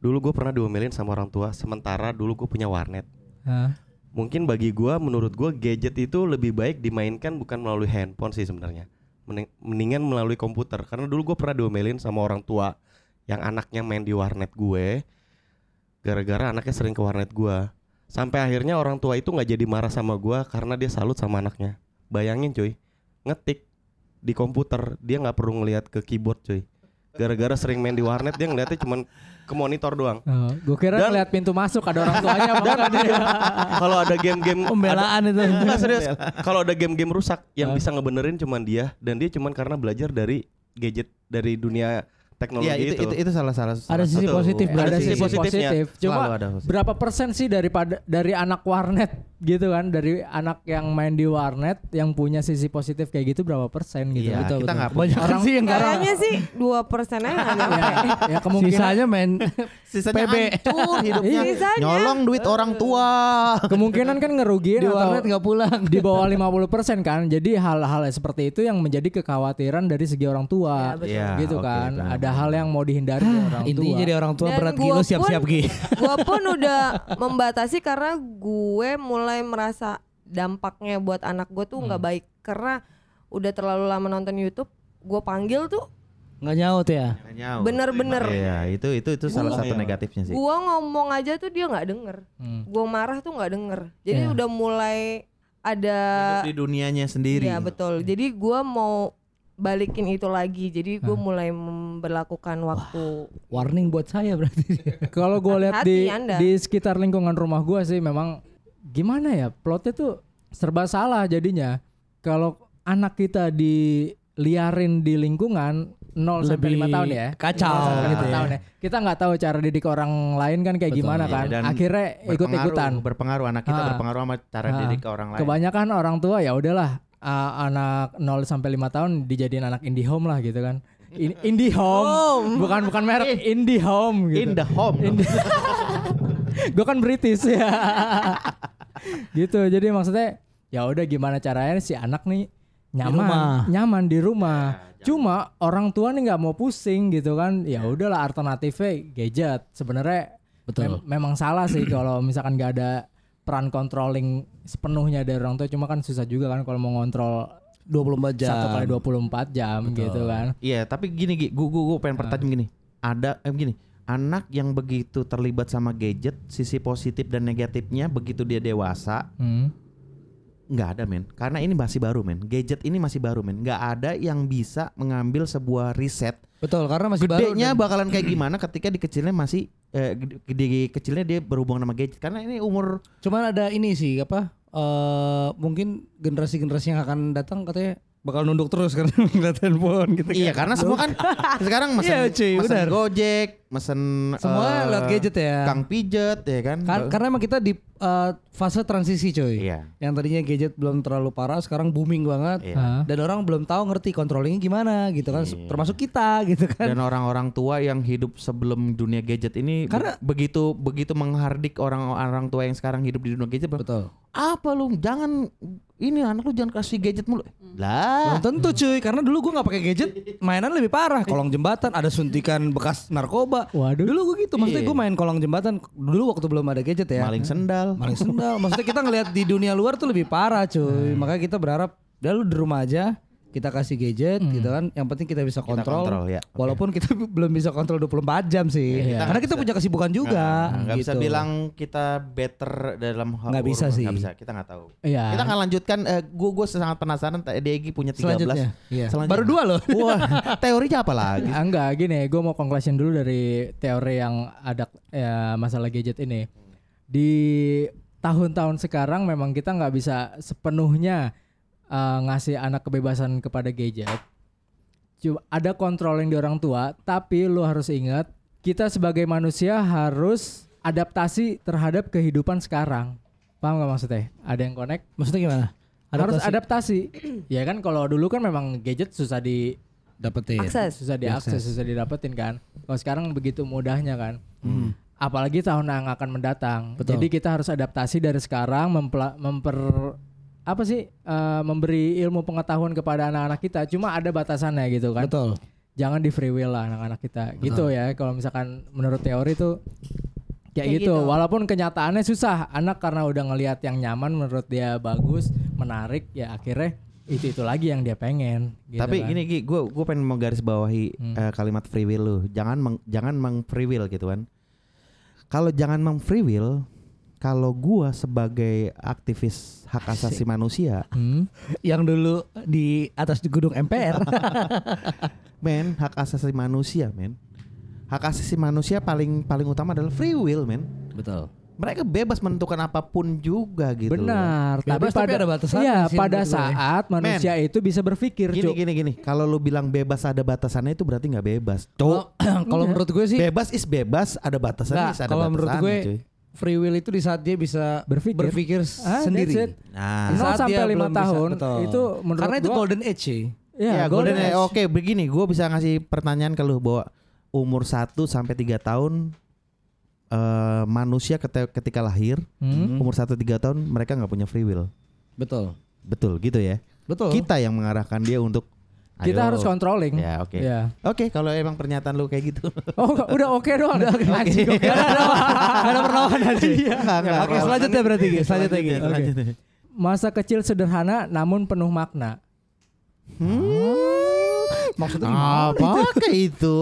Speaker 3: Dulu gue pernah diomelin sama orang tua. Sementara dulu gue punya warnet.
Speaker 2: Ah.
Speaker 3: Mungkin bagi gue, menurut gue gadget itu lebih baik dimainkan bukan melalui handphone sih sebenarnya. Mening- Mendingan melalui komputer. Karena dulu gue pernah diomelin sama orang tua yang anaknya main di warnet gue. Gara-gara anaknya sering ke warnet gue. Sampai akhirnya orang tua itu nggak jadi marah sama gue karena dia salut sama anaknya. Bayangin cuy, ngetik di komputer dia nggak perlu ngelihat ke keyboard cuy. Gara-gara sering main di warnet dia ngeliatnya cuman ke monitor doang.
Speaker 2: Oh, gue kira
Speaker 3: Dan-
Speaker 2: ngeliat pintu masuk ada orang tuanya apa enggak dia.
Speaker 3: Kalau ada game-game ada-
Speaker 6: Pembelaan itu.
Speaker 3: Nah, serius. Kalau ada game-game rusak
Speaker 1: Ah.
Speaker 3: yang bisa ngebenerin cuman dia dan dia cuman karena belajar dari gadget dari dunia teknologi
Speaker 1: Iya itu,
Speaker 3: itu.
Speaker 1: itu itu salah salah.
Speaker 6: Ada
Speaker 1: salah
Speaker 6: sisi
Speaker 1: satu. Iya,
Speaker 6: positif,
Speaker 1: Ada
Speaker 3: berarti.
Speaker 1: sisi
Speaker 3: Sisi
Speaker 1: positif.
Speaker 3: positifnya.
Speaker 2: Cuma
Speaker 1: Selalu ada positif.
Speaker 2: berapa persen sih daripada dari anak warnet gitu kan, dari anak yang main di warnet yang punya sisi positif kayak gitu berapa persen gitu.
Speaker 1: Iya,
Speaker 2: Betul,
Speaker 1: kita
Speaker 2: betul.
Speaker 1: nggak
Speaker 6: Banyak
Speaker 2: Orang-
Speaker 6: sih yang ngarang.
Speaker 7: Kayaknya sih 2 persen aja.
Speaker 2: ya, ya kemungkinan
Speaker 6: Sisanya main
Speaker 1: Sisanya
Speaker 6: PB.
Speaker 1: hancur hidupnya.
Speaker 7: Sisanya.
Speaker 1: Nyolong duit orang tua.
Speaker 2: kemungkinan kan ngerugiin
Speaker 6: di
Speaker 2: atau-
Speaker 6: warnet nggak pulang.
Speaker 2: di bawah 50% kan. Jadi hal-hal seperti itu yang menjadi kekhawatiran dari segi orang tua.
Speaker 1: Iya,
Speaker 2: gitu
Speaker 1: oke,
Speaker 2: kan.
Speaker 1: paham.
Speaker 2: Ada hal yang mau dihindari dari orang tua.
Speaker 6: Intinya jadi orang tua
Speaker 7: Dan
Speaker 6: berat
Speaker 7: gua
Speaker 6: gila siap-siap
Speaker 7: pun-
Speaker 6: gila.
Speaker 7: gue pun udah membatasi karena gue mulai
Speaker 6: Hmm.
Speaker 7: merasa dampaknya buat anak gue tuh nggak baik karena udah terlalu lama nonton YouTube gue panggil tuh
Speaker 6: nggak nyaut ya
Speaker 1: Nyaut.
Speaker 7: Bener-bener. Iya.
Speaker 1: Iya, itu itu itu salah
Speaker 3: Gua-
Speaker 1: satu negatifnya sih.
Speaker 7: gue ngomong aja tuh dia nggak denger
Speaker 2: Hmm.
Speaker 7: gue marah tuh nggak denger jadi
Speaker 2: Iya.
Speaker 7: udah mulai ada
Speaker 1: Hidup di dunianya sendiri.
Speaker 7: Iya betul. Jadi gua mau balikin itu lagi. Jadi
Speaker 6: Hmm.
Speaker 7: gua mulai memperlakukan waktu
Speaker 6: warning buat saya berarti
Speaker 2: Kalau gue lihat
Speaker 7: Hati-hati
Speaker 2: di
Speaker 7: Anda.
Speaker 2: di sekitar lingkungan rumah gue sih memang gimana ya plotnya tuh serba salah jadinya. Kalau anak kita diliarin di lingkungan 0 sampai
Speaker 8: Lebih
Speaker 2: 5 tahun ya.
Speaker 6: kacau
Speaker 2: 0 sampai
Speaker 6: gitu
Speaker 2: 5 tahun ya. Kita nggak tahu cara didik orang lain kan kayak gimana
Speaker 1: Iya,
Speaker 2: kan.
Speaker 1: dan
Speaker 2: Akhirnya ikut-ikutan.
Speaker 1: Berpengaruh, berpengaruh anak kita
Speaker 2: Ah.
Speaker 1: berpengaruh sama cara
Speaker 2: Ah.
Speaker 1: didik orang lain.
Speaker 2: Kebanyakan orang tua ya udahlah uh, anak 0 sampai 5 tahun dijadiin anak indie home lah gitu kan. In- indie home. Bukan bukan merek indie home gitu.
Speaker 1: In the home.
Speaker 2: In the- gue kan British ya. gitu. Jadi maksudnya ya udah gimana caranya si anak nih nyaman,
Speaker 6: rumah. Ya,
Speaker 2: nyaman di rumah. Cuma orang tua nih nggak mau pusing gitu kan. Ya udahlah alternatifnya gadget. Sebenarnya
Speaker 6: Betul.
Speaker 2: mem- memang salah sih kalau misalkan nggak ada peran controlling sepenuhnya dari orang tua. Cuma kan susah juga kan kalau mau ngontrol
Speaker 6: 24 jam
Speaker 2: satu kali 24 jam gitu kan.
Speaker 1: Iya, tapi gini Gi, gua gua, gua
Speaker 2: Ah.
Speaker 1: pengen pertajam gini. Ada eh, gini, anak yang begitu terlibat sama gadget, sisi positif dan negatifnya begitu dia dewasa
Speaker 2: Hmm.
Speaker 1: nggak ada men karena ini masih baru men gadget ini masih baru men nggak ada yang bisa mengambil sebuah riset
Speaker 6: betul karena masih baru
Speaker 1: gedenya
Speaker 6: dan-
Speaker 1: bakalan kayak gimana ketika di kecilnya masih eh, gede- gede kecilnya dia berhubungan sama gadget karena ini umur
Speaker 6: cuman ada ini sih apa eh mungkin generasi-generasi yang akan datang katanya bakal nunduk terus karena ngeliat handphone gitu
Speaker 1: iya
Speaker 6: kan.
Speaker 1: karena semua kan sekarang mesen,
Speaker 6: Iya, cuy,
Speaker 1: mesen
Speaker 6: benar.
Speaker 1: gojek mesen
Speaker 6: semua
Speaker 1: eh,
Speaker 6: lewat gadget ya
Speaker 1: kang pijet ya kan
Speaker 6: Kar- karena emang kita di eh, fase transisi coy
Speaker 1: iya
Speaker 6: yang tadinya gadget belum terlalu parah sekarang booming
Speaker 1: iya.
Speaker 6: banget
Speaker 2: Ah.
Speaker 6: dan orang belum tahu ngerti controllingnya gimana gitu kan
Speaker 1: Iya.
Speaker 6: termasuk kita gitu kan
Speaker 1: dan orang-orang tua yang hidup sebelum dunia gadget ini be-
Speaker 6: Karena-
Speaker 1: begitu begitu menghardik orang-orang tua yang sekarang hidup di dunia gadget bang,
Speaker 6: betul
Speaker 1: apa lu jangan ini anak lu jangan kasih gadget mulu lah
Speaker 6: belum tentu cuy karena dulu gua nggak pakai gadget mainan lebih parah kolong jembatan ada suntikan bekas narkoba
Speaker 2: Waduh.
Speaker 6: dulu gue gitu maksudnya gue main kolong jembatan dulu waktu belum ada gadget ya
Speaker 1: Iya. maling sendal
Speaker 6: maling sendal maksudnya kita ngelihat di dunia luar tuh lebih parah cuy
Speaker 1: Hmm.
Speaker 6: makanya kita berharap udah lu di rumah aja kita kasih gadget gitu kan yang penting kita bisa
Speaker 1: Hmm. Kita
Speaker 6: kontrol,
Speaker 1: kontrol, ya. Oke.
Speaker 6: walaupun kita belum bisa kontrol 24 jam sih
Speaker 1: Iya.
Speaker 6: karena kita punya kesibukan juga
Speaker 1: nggak bisa
Speaker 6: gitu.
Speaker 1: bilang kita better dalam hal
Speaker 6: Nggak bisa
Speaker 1: urusan-
Speaker 6: sih.
Speaker 1: nggak bisa kita nggak tahu
Speaker 2: Iya.
Speaker 1: kita akan lanjutkan eh, gue gue sangat penasaran tadi Egi punya 13
Speaker 6: Selanjutnya, iya.
Speaker 1: Selanjutnya.
Speaker 6: Baru dua loh.
Speaker 1: wah teorinya apa lagi
Speaker 2: Ah, enggak gini gue mau conclusion dulu dari teori yang ada ya, masalah gadget ini di tahun-tahun sekarang memang kita nggak bisa sepenuhnya eh, ngasih anak kebebasan kepada gadget Cuma ada kontrol yang di orang tua tapi lu harus ingat kita sebagai manusia harus adaptasi terhadap kehidupan sekarang paham nggak maksudnya ada yang connect
Speaker 6: maksudnya gimana
Speaker 2: harus adaptasi ya kan kalau dulu kan memang gadget susah di
Speaker 6: dapetin
Speaker 7: akses.
Speaker 2: susah diakses, susah didapetin kan. Kalau sekarang begitu mudahnya kan. Apalagi tahun yang akan mendatang.
Speaker 6: Hmm. Betul.
Speaker 2: Jadi kita harus adaptasi dari sekarang mempla- memper apa sih eh, memberi ilmu pengetahuan kepada anak-anak kita. Cuma ada batasannya gitu kan.
Speaker 6: betul
Speaker 2: Jangan di free will lah anak-anak kita. Gitu ya kalau misalkan menurut teori tuh kayak,
Speaker 7: Kayak
Speaker 2: gitu.
Speaker 7: gitu.
Speaker 2: Walaupun kenyataannya susah anak karena udah ngelihat yang nyaman menurut dia bagus, menarik ya akhirnya itu-itu lagi yang dia pengen gitu
Speaker 1: tapi
Speaker 2: kan.
Speaker 1: gini Gi gue gue pengen menggaris bawahi
Speaker 6: Hmm.
Speaker 1: eh, kalimat free will lu jangan meng, jangan meng free will gitu kan kalau jangan meng free will kalau gua sebagai aktivis hak asasi manusia
Speaker 2: Hmm.
Speaker 6: yang dulu di atas di gedung MPR
Speaker 1: men hak asasi manusia men hak asasi manusia paling paling utama adalah free will men
Speaker 6: betul
Speaker 1: mereka bebas menentukan apapun juga gitu loh.
Speaker 2: Benar,
Speaker 6: Bebas tapi ada batasannya
Speaker 2: Iya,
Speaker 6: sih
Speaker 2: pada
Speaker 6: menurut gue ya.
Speaker 2: saat manusia itu bisa berpikir,
Speaker 1: gini
Speaker 2: Cuk.
Speaker 1: gini gini kalau lu bilang bebas ada batasannya itu berarti nggak bebas Oh,
Speaker 6: kalau kalau menurut gue sih
Speaker 1: bebas is bebas ada batasannya
Speaker 6: Nggak,
Speaker 1: is ada
Speaker 6: kalau menurut
Speaker 1: batasannya,
Speaker 6: gue
Speaker 1: cuy.
Speaker 6: free will itu di saat dia bisa
Speaker 2: Berpikir. Ah, that's it.
Speaker 6: sendiri.
Speaker 1: nah
Speaker 2: Nol
Speaker 6: Saat
Speaker 2: sampai
Speaker 6: dia
Speaker 2: lima
Speaker 6: belum bisa,
Speaker 2: tahun,
Speaker 6: betul.
Speaker 2: itu menurut
Speaker 6: karena itu
Speaker 2: gua-
Speaker 6: golden age sih.
Speaker 1: ya,
Speaker 2: Iya,
Speaker 1: golden
Speaker 2: golden
Speaker 1: age.
Speaker 2: age.
Speaker 1: oke begini gue bisa ngasih pertanyaan ke lu bahwa umur 1 sampai 3 tahun eh, manusia kete- ketika lahir
Speaker 2: Hmm.
Speaker 1: umur 1 3 tahun mereka nggak punya free will
Speaker 6: Betul.
Speaker 1: betul gitu ya
Speaker 6: Betul.
Speaker 1: kita yang mengarahkan dia untuk
Speaker 2: Kita
Speaker 1: ayo.
Speaker 2: harus controlling.
Speaker 1: ya oke
Speaker 2: Iya.
Speaker 1: oke kalau emang pernyataan lu kayak gitu
Speaker 2: Oh, enggak, udah oke doang. Udah oke. Anjing, oke.
Speaker 6: Karena perlawanan aja.
Speaker 1: Nggak, nggak,
Speaker 6: Iya. Oke, selanjutnya berarti Gi. Selanjutnya Gi. Oke.
Speaker 1: Lanjut ya.
Speaker 2: Masa kecil sederhana namun penuh makna.
Speaker 1: Hmm.
Speaker 6: maksudnya gimana?
Speaker 1: Apakah itu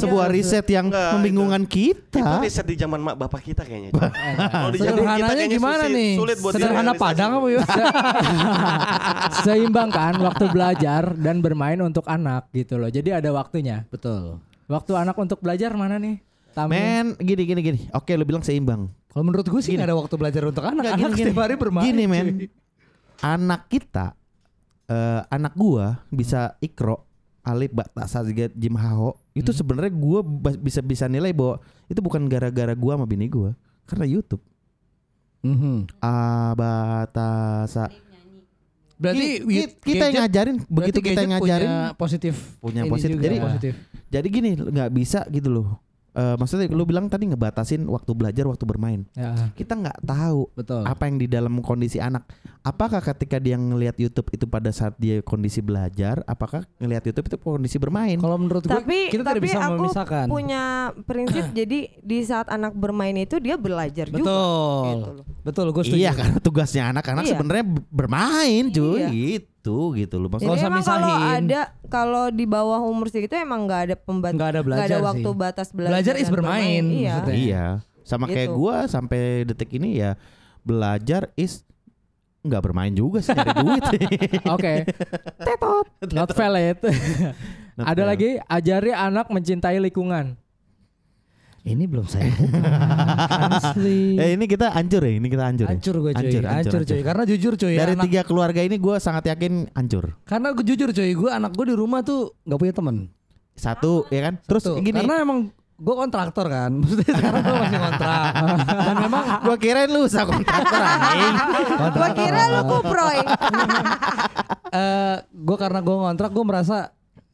Speaker 1: sebuah riset yang
Speaker 3: Enggak, itu-
Speaker 1: membingungkan
Speaker 3: Itu
Speaker 1: kita?
Speaker 3: riset di zaman mak bapak kita kayaknya. Cok.
Speaker 1: Oh,
Speaker 3: Kalau di
Speaker 1: gitu.
Speaker 3: zaman Iya, kita
Speaker 8: Sederhananya
Speaker 3: kayaknya
Speaker 8: gimana
Speaker 3: sulit-
Speaker 8: nih?
Speaker 3: Sulit buat
Speaker 8: Sederhana
Speaker 3: direalisasi.
Speaker 8: Padang apa ya?
Speaker 2: Seimbangkan waktu belajar dan bermain untuk anak gitu loh. Jadi ada waktunya.
Speaker 6: Betul.
Speaker 2: Waktu anak untuk belajar mana nih? Tamin.
Speaker 1: Men, gini gini gini. Oke, lu bilang seimbang.
Speaker 6: Kalau menurut gue sih gak ada waktu belajar untuk anak.
Speaker 1: Nggak,
Speaker 6: anak
Speaker 1: gini,
Speaker 6: setiap
Speaker 1: gini.
Speaker 6: hari bermain.
Speaker 1: Gini, men.
Speaker 6: cuy.
Speaker 1: Anak kita eh anak gua bisa ikro alif batas sajigat jim haho itu
Speaker 6: Hmm.
Speaker 1: sebenarnya gua ba- bisa bisa nilai bahwa itu bukan gara-gara gua sama bini gua karena YouTube
Speaker 6: Mhm.
Speaker 1: abatasa
Speaker 8: Berarti
Speaker 1: Ki- ki- kita yang ngajarin begitu kita yang ngajarin
Speaker 8: positif
Speaker 1: punya
Speaker 8: ini
Speaker 1: positif.
Speaker 8: juga.
Speaker 1: Jadi-
Speaker 8: positif.
Speaker 1: jadi gini nggak bisa gitu loh Eh maksudnya lu bilang tadi ngebatasin waktu belajar waktu bermain
Speaker 2: Ya.
Speaker 1: kita nggak tahu
Speaker 6: Betul.
Speaker 1: apa yang di dalam kondisi anak. Apakah ketika dia ngelihat YouTube itu pada saat dia kondisi belajar, apakah ngelihat YouTube itu kondisi bermain?
Speaker 6: Kalau menurut gue
Speaker 7: tapi
Speaker 6: kita tidak
Speaker 7: tapi
Speaker 6: bisa
Speaker 7: aku
Speaker 6: memisahkan.
Speaker 7: punya prinsip jadi di saat anak bermain itu dia belajar juga
Speaker 6: Betul.
Speaker 7: gitu loh.
Speaker 6: Betul, gue setuju.
Speaker 1: Iya, karena tugasnya anak-anak
Speaker 7: Iya.
Speaker 1: sebenarnya b- bermain, cuy.
Speaker 7: Iya.
Speaker 1: Gitu gitu loh.
Speaker 7: Jadi
Speaker 1: Maksudnya
Speaker 6: Nggak usah
Speaker 7: emang kalau
Speaker 6: misahin.
Speaker 7: ada kalau di bawah umur segitu emang nggak ada pembatas
Speaker 6: Nggak ada belajar
Speaker 7: waktu
Speaker 6: sih.
Speaker 7: batas belajar.
Speaker 6: Belajar is
Speaker 7: dan
Speaker 6: bermain,
Speaker 7: Iya.
Speaker 6: maksudnya.
Speaker 1: iya. Sama kayak
Speaker 7: Gitu.
Speaker 1: gua sampai detik ini ya belajar is nggak bermain juga sih nyari duit.
Speaker 2: Oke. Not valid.
Speaker 1: Not
Speaker 2: ada
Speaker 1: valid.
Speaker 2: lagi ajari anak mencintai lingkungan.
Speaker 6: Ini belum saya.
Speaker 2: Asli.
Speaker 1: Eh ini kita hancur ya, ini kita hancur. ya?
Speaker 6: Hancur gue cuy.
Speaker 1: Hancur,
Speaker 6: Hancur,
Speaker 1: hancur,
Speaker 6: cuy.
Speaker 1: hancur.
Speaker 6: Karena jujur cuy.
Speaker 1: Dari
Speaker 6: anak-
Speaker 1: tiga keluarga ini gua sangat yakin hancur.
Speaker 6: Karena gue jujur cuy, gue anak gue di rumah tuh nggak punya temen.
Speaker 1: Satu ya kan? Terus
Speaker 6: Tuh,
Speaker 1: gini.
Speaker 6: Karena emang gue kontraktor kan. Maksudnya sekarang gue masih kontrak. Dan memang
Speaker 1: gua kirain lu usah kontraktor anjing.
Speaker 7: Gua kira lu kuproy.
Speaker 6: eh gue karena gue ngontrak gue merasa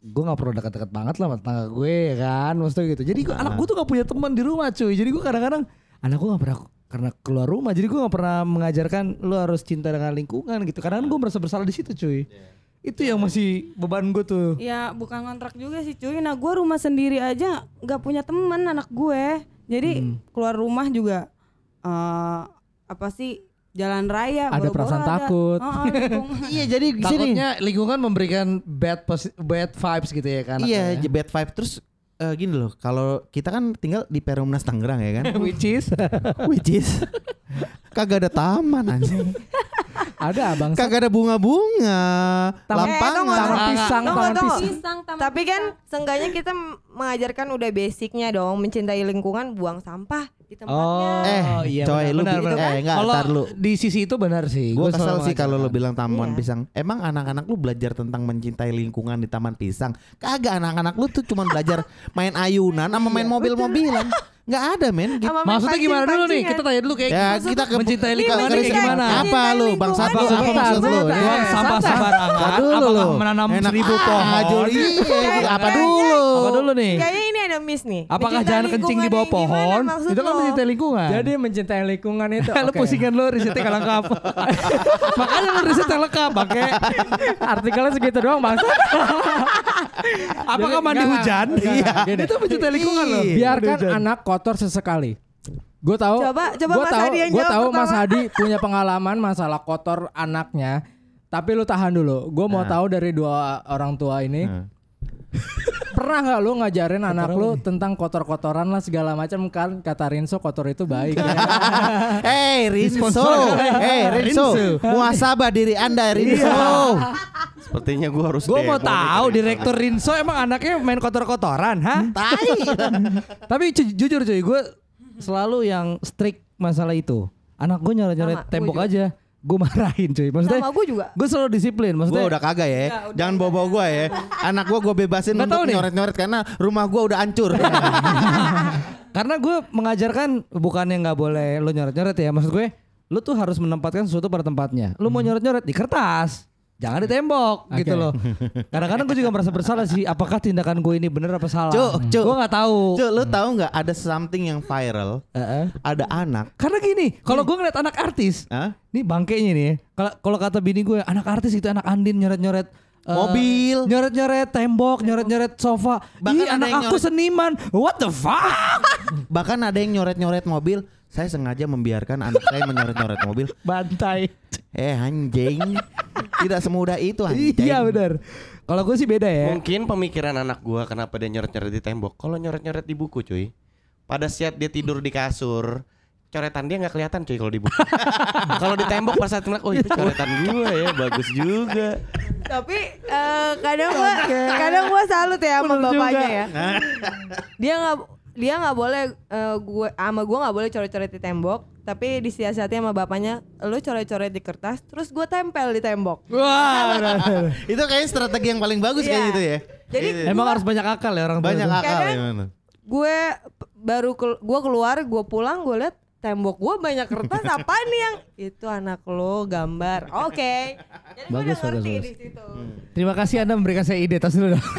Speaker 6: gue nggak perlu dekat-dekat banget lah sama tetangga gue ya kan maksudnya gitu jadi gua, anak gue tuh gak punya teman di rumah cuy jadi gue kadang-kadang anak gue gak pernah karena keluar rumah jadi gue gak pernah mengajarkan lu harus cinta dengan lingkungan gitu kadang-kadang gue merasa bersalah di situ cuy itu yang masih beban gue tuh
Speaker 5: Ya bukan kontrak juga sih cuy. Nah gue rumah sendiri aja nggak punya teman anak gue. Jadi keluar rumah juga eh apa sih jalan raya.
Speaker 2: Ada
Speaker 5: boro-boro
Speaker 2: perasaan takut.
Speaker 5: Oh, oh, lingkungan.
Speaker 1: Iya jadi sini.
Speaker 6: takutnya lingkungan memberikan bad posi- bad vibes gitu ya kan
Speaker 1: Iya je- bad vibe terus eh, gini loh kalau kita kan tinggal di Perumnas Tangerang ya kan
Speaker 6: which is
Speaker 1: which is kagak ada taman anjing
Speaker 2: Ada abang.
Speaker 6: Kan
Speaker 1: kagak ada bunga-bunga lapangan
Speaker 7: Eh,
Speaker 2: Taman
Speaker 7: tunggu,
Speaker 2: pisang,
Speaker 7: tunggu,
Speaker 2: taman
Speaker 7: tunggu.
Speaker 2: pisang.
Speaker 5: Pisang, taman
Speaker 7: Tapi kan seenggaknya kita m- mengajarkan udah basicnya dong mencintai lingkungan, buang sampah di
Speaker 6: oh
Speaker 7: tempatnya.
Speaker 6: iya
Speaker 1: Eh, coy, lu
Speaker 6: benar,
Speaker 1: bi-
Speaker 6: benar, benar.
Speaker 1: eh, enggak,
Speaker 6: Kalau
Speaker 1: ntar lu.
Speaker 6: di sisi itu benar sih
Speaker 1: gue
Speaker 6: Gua
Speaker 1: kesel
Speaker 6: selalu
Speaker 1: sih kalau lo
Speaker 6: mengajarkan.
Speaker 1: bilang taman
Speaker 7: Iya.
Speaker 1: pisang emang anak-anak lu belajar tentang mencintai lingkungan di taman pisang kagak anak-anak lu tuh cuman belajar main ayunan sama main mobil-mobilan nggak ada men gitu
Speaker 7: Sama main
Speaker 6: Maksudnya gimana dulu nih? Kita
Speaker 7: pancing-pancingan.
Speaker 6: tanya dulu kayak
Speaker 2: gitu
Speaker 6: gitu.
Speaker 1: Ya,
Speaker 6: maksud
Speaker 1: kita ke-
Speaker 6: mencintai lingkungan
Speaker 7: Iya,
Speaker 6: kayak
Speaker 7: mencintai-
Speaker 6: gimana? Iya,
Speaker 7: mencintai
Speaker 1: Apa lu, bang
Speaker 7: lingkungan
Speaker 1: Sapi?
Speaker 7: ya.
Speaker 1: Apa maksud lu?
Speaker 7: Bentar,
Speaker 1: Buang
Speaker 7: bentar.
Speaker 6: sampah sembarangan.
Speaker 1: Apa dulu
Speaker 6: Apakah
Speaker 1: lo?
Speaker 6: menanam
Speaker 1: Enak
Speaker 6: seribu
Speaker 1: aja,
Speaker 6: pohon?
Speaker 1: Iya, apa
Speaker 7: Kayaknya-
Speaker 1: dulu?
Speaker 6: Apa dulu nih?
Speaker 7: Kayaknya ini ada miss nih.
Speaker 6: Apakah
Speaker 7: Mencintai
Speaker 6: jangan kencing di bawah
Speaker 7: lingkungan yang
Speaker 6: pohon?
Speaker 7: gimana maksud
Speaker 6: Itu kan
Speaker 7: lo?
Speaker 6: mencintai lingkungan.
Speaker 2: Jadi mencintai lingkungan itu.
Speaker 6: lu
Speaker 2: oke.
Speaker 6: pusingan lu risetnya gak lengkap. Makanya lu risetnya lengkap, pakai
Speaker 2: Artikelnya segitu doang bang.
Speaker 6: apakah mandi
Speaker 2: Enggak,
Speaker 6: hujan? Iya.
Speaker 2: enggak, enggak, gini.
Speaker 6: Itu mencintai lingkungan loh.
Speaker 2: Biarkan anak kotor sesekali. Gue tahu.
Speaker 7: Coba- coba
Speaker 2: gua
Speaker 7: Mas
Speaker 2: tahu,
Speaker 7: Hadi yang
Speaker 2: gua
Speaker 7: jawab
Speaker 2: tahu
Speaker 7: pertama.
Speaker 2: Mas Hadi punya pengalaman masalah kotor anaknya. Tapi lu tahan dulu. Gue
Speaker 6: Nah.
Speaker 2: mau tahu dari dua orang tua ini.
Speaker 1: Nah.
Speaker 2: Pernah nggak lu ngajarin anak lu tentang kotor-kotoran lah segala macam kan kata Rinso kotor itu baik.
Speaker 6: Kan
Speaker 2: ya.
Speaker 1: Hey Rinso, hey Rinso, muasabah diri anda Rinso.
Speaker 3: Sepertinya gue harus
Speaker 6: Gue mau
Speaker 3: demo nih
Speaker 6: tahu
Speaker 3: kayaknya.
Speaker 6: direktur Rinso emang anaknya main kotor-kotoran, ha?
Speaker 2: Hmm.
Speaker 1: Tai.
Speaker 6: Tapi cu- jujur cuy, gue selalu yang strict masalah itu. Anak gue
Speaker 7: Sama,
Speaker 6: nyoret-nyoret
Speaker 7: gua
Speaker 6: tembok
Speaker 7: juga.
Speaker 6: aja, gue marahin cuy. Maksudnya,
Speaker 7: Sama gue juga.
Speaker 6: gue selalu disiplin.
Speaker 1: Gue
Speaker 6: Maksudnya,
Speaker 1: udah kagak
Speaker 7: Iya,
Speaker 1: ya, jangan bawa-bawa gue ya. Anak gue gue bebasin
Speaker 6: Nggak tahu
Speaker 1: untuk
Speaker 6: nih.
Speaker 1: nyoret-nyoret karena rumah gue udah hancur.
Speaker 6: Karena gue mengajarkan bukannya nggak boleh lu nyoret-nyoret ya. Maksud gue, lu tuh harus menempatkan sesuatu pada tempatnya. Lu mau nyoret-nyoret di kertas. Jangan di tembok gitu loh. Kadang-kadang gue juga merasa bersalah sih. Apakah tindakan gue ini benar apa salah?
Speaker 1: Cuk, cuk.
Speaker 6: Gue nggak tahu.
Speaker 1: Cuk, lu tahu nggak ada something yang viral?
Speaker 6: Heeh.
Speaker 1: Ada anak. ah,
Speaker 6: Karena gini,
Speaker 1: Hmm.
Speaker 6: kalau gue ngeliat anak artis,
Speaker 1: Hah?
Speaker 6: nih bangkainya nih. ya. Kalau kalau kata bini gue, anak artis itu anak Andin nyoret-nyoret eh,
Speaker 1: Mobil.
Speaker 6: nyoret-nyoret tembok, nyoret-nyoret sofa.
Speaker 1: Bahkan
Speaker 6: Ih,
Speaker 1: ada
Speaker 6: anak
Speaker 1: yang
Speaker 6: aku
Speaker 1: nyoret-
Speaker 6: seniman. What the fuck?
Speaker 1: Bahkan ada yang nyoret-nyoret mobil. Saya sengaja membiarkan anak saya menyoret-nyoret mobil.
Speaker 6: Bantai.
Speaker 1: Eh anjing. Tidak semudah itu anjing.
Speaker 6: Iya benar. Kalau gue sih beda ya.
Speaker 3: Mungkin pemikiran anak gua kenapa dia nyoret-nyoret di tembok. Kalau nyoret-nyoret di buku, cuy. Pada saat dia tidur di kasur, coretan dia nggak kelihatan cuy kalau di buku. kalau di tembok pas saat melek, oh itu coretan gua ya, bagus juga.
Speaker 7: Tapi eh, kadang gua kadang gua salut ya sama bapaknya ya. Dia nggak dia nggak boleh eh, gue sama gua nggak boleh coret-coret di tembok, tapi disiasati sama bapaknya, lu coret-coret di kertas, terus gua tempel di tembok.
Speaker 6: Wah, benar, benar.
Speaker 1: itu kayak strategi yang paling bagus
Speaker 7: Iya.
Speaker 1: kayak gitu ya.
Speaker 7: Jadi
Speaker 2: iya.
Speaker 6: emang harus banyak akal ya orang tua
Speaker 1: Banyak
Speaker 6: itu.
Speaker 1: akal
Speaker 7: Kadang-
Speaker 1: ya. bener.
Speaker 7: gue p- baru kel- gue keluar gue pulang gue liat tembok gue banyak kertas apa nih yang itu anak lo gambar oke jadi gue udah
Speaker 6: Bagus, bagus,
Speaker 7: ngerti
Speaker 6: bagus.
Speaker 7: di situ
Speaker 6: Terima kasih Anda memberikan saya ide tas dulu. dong.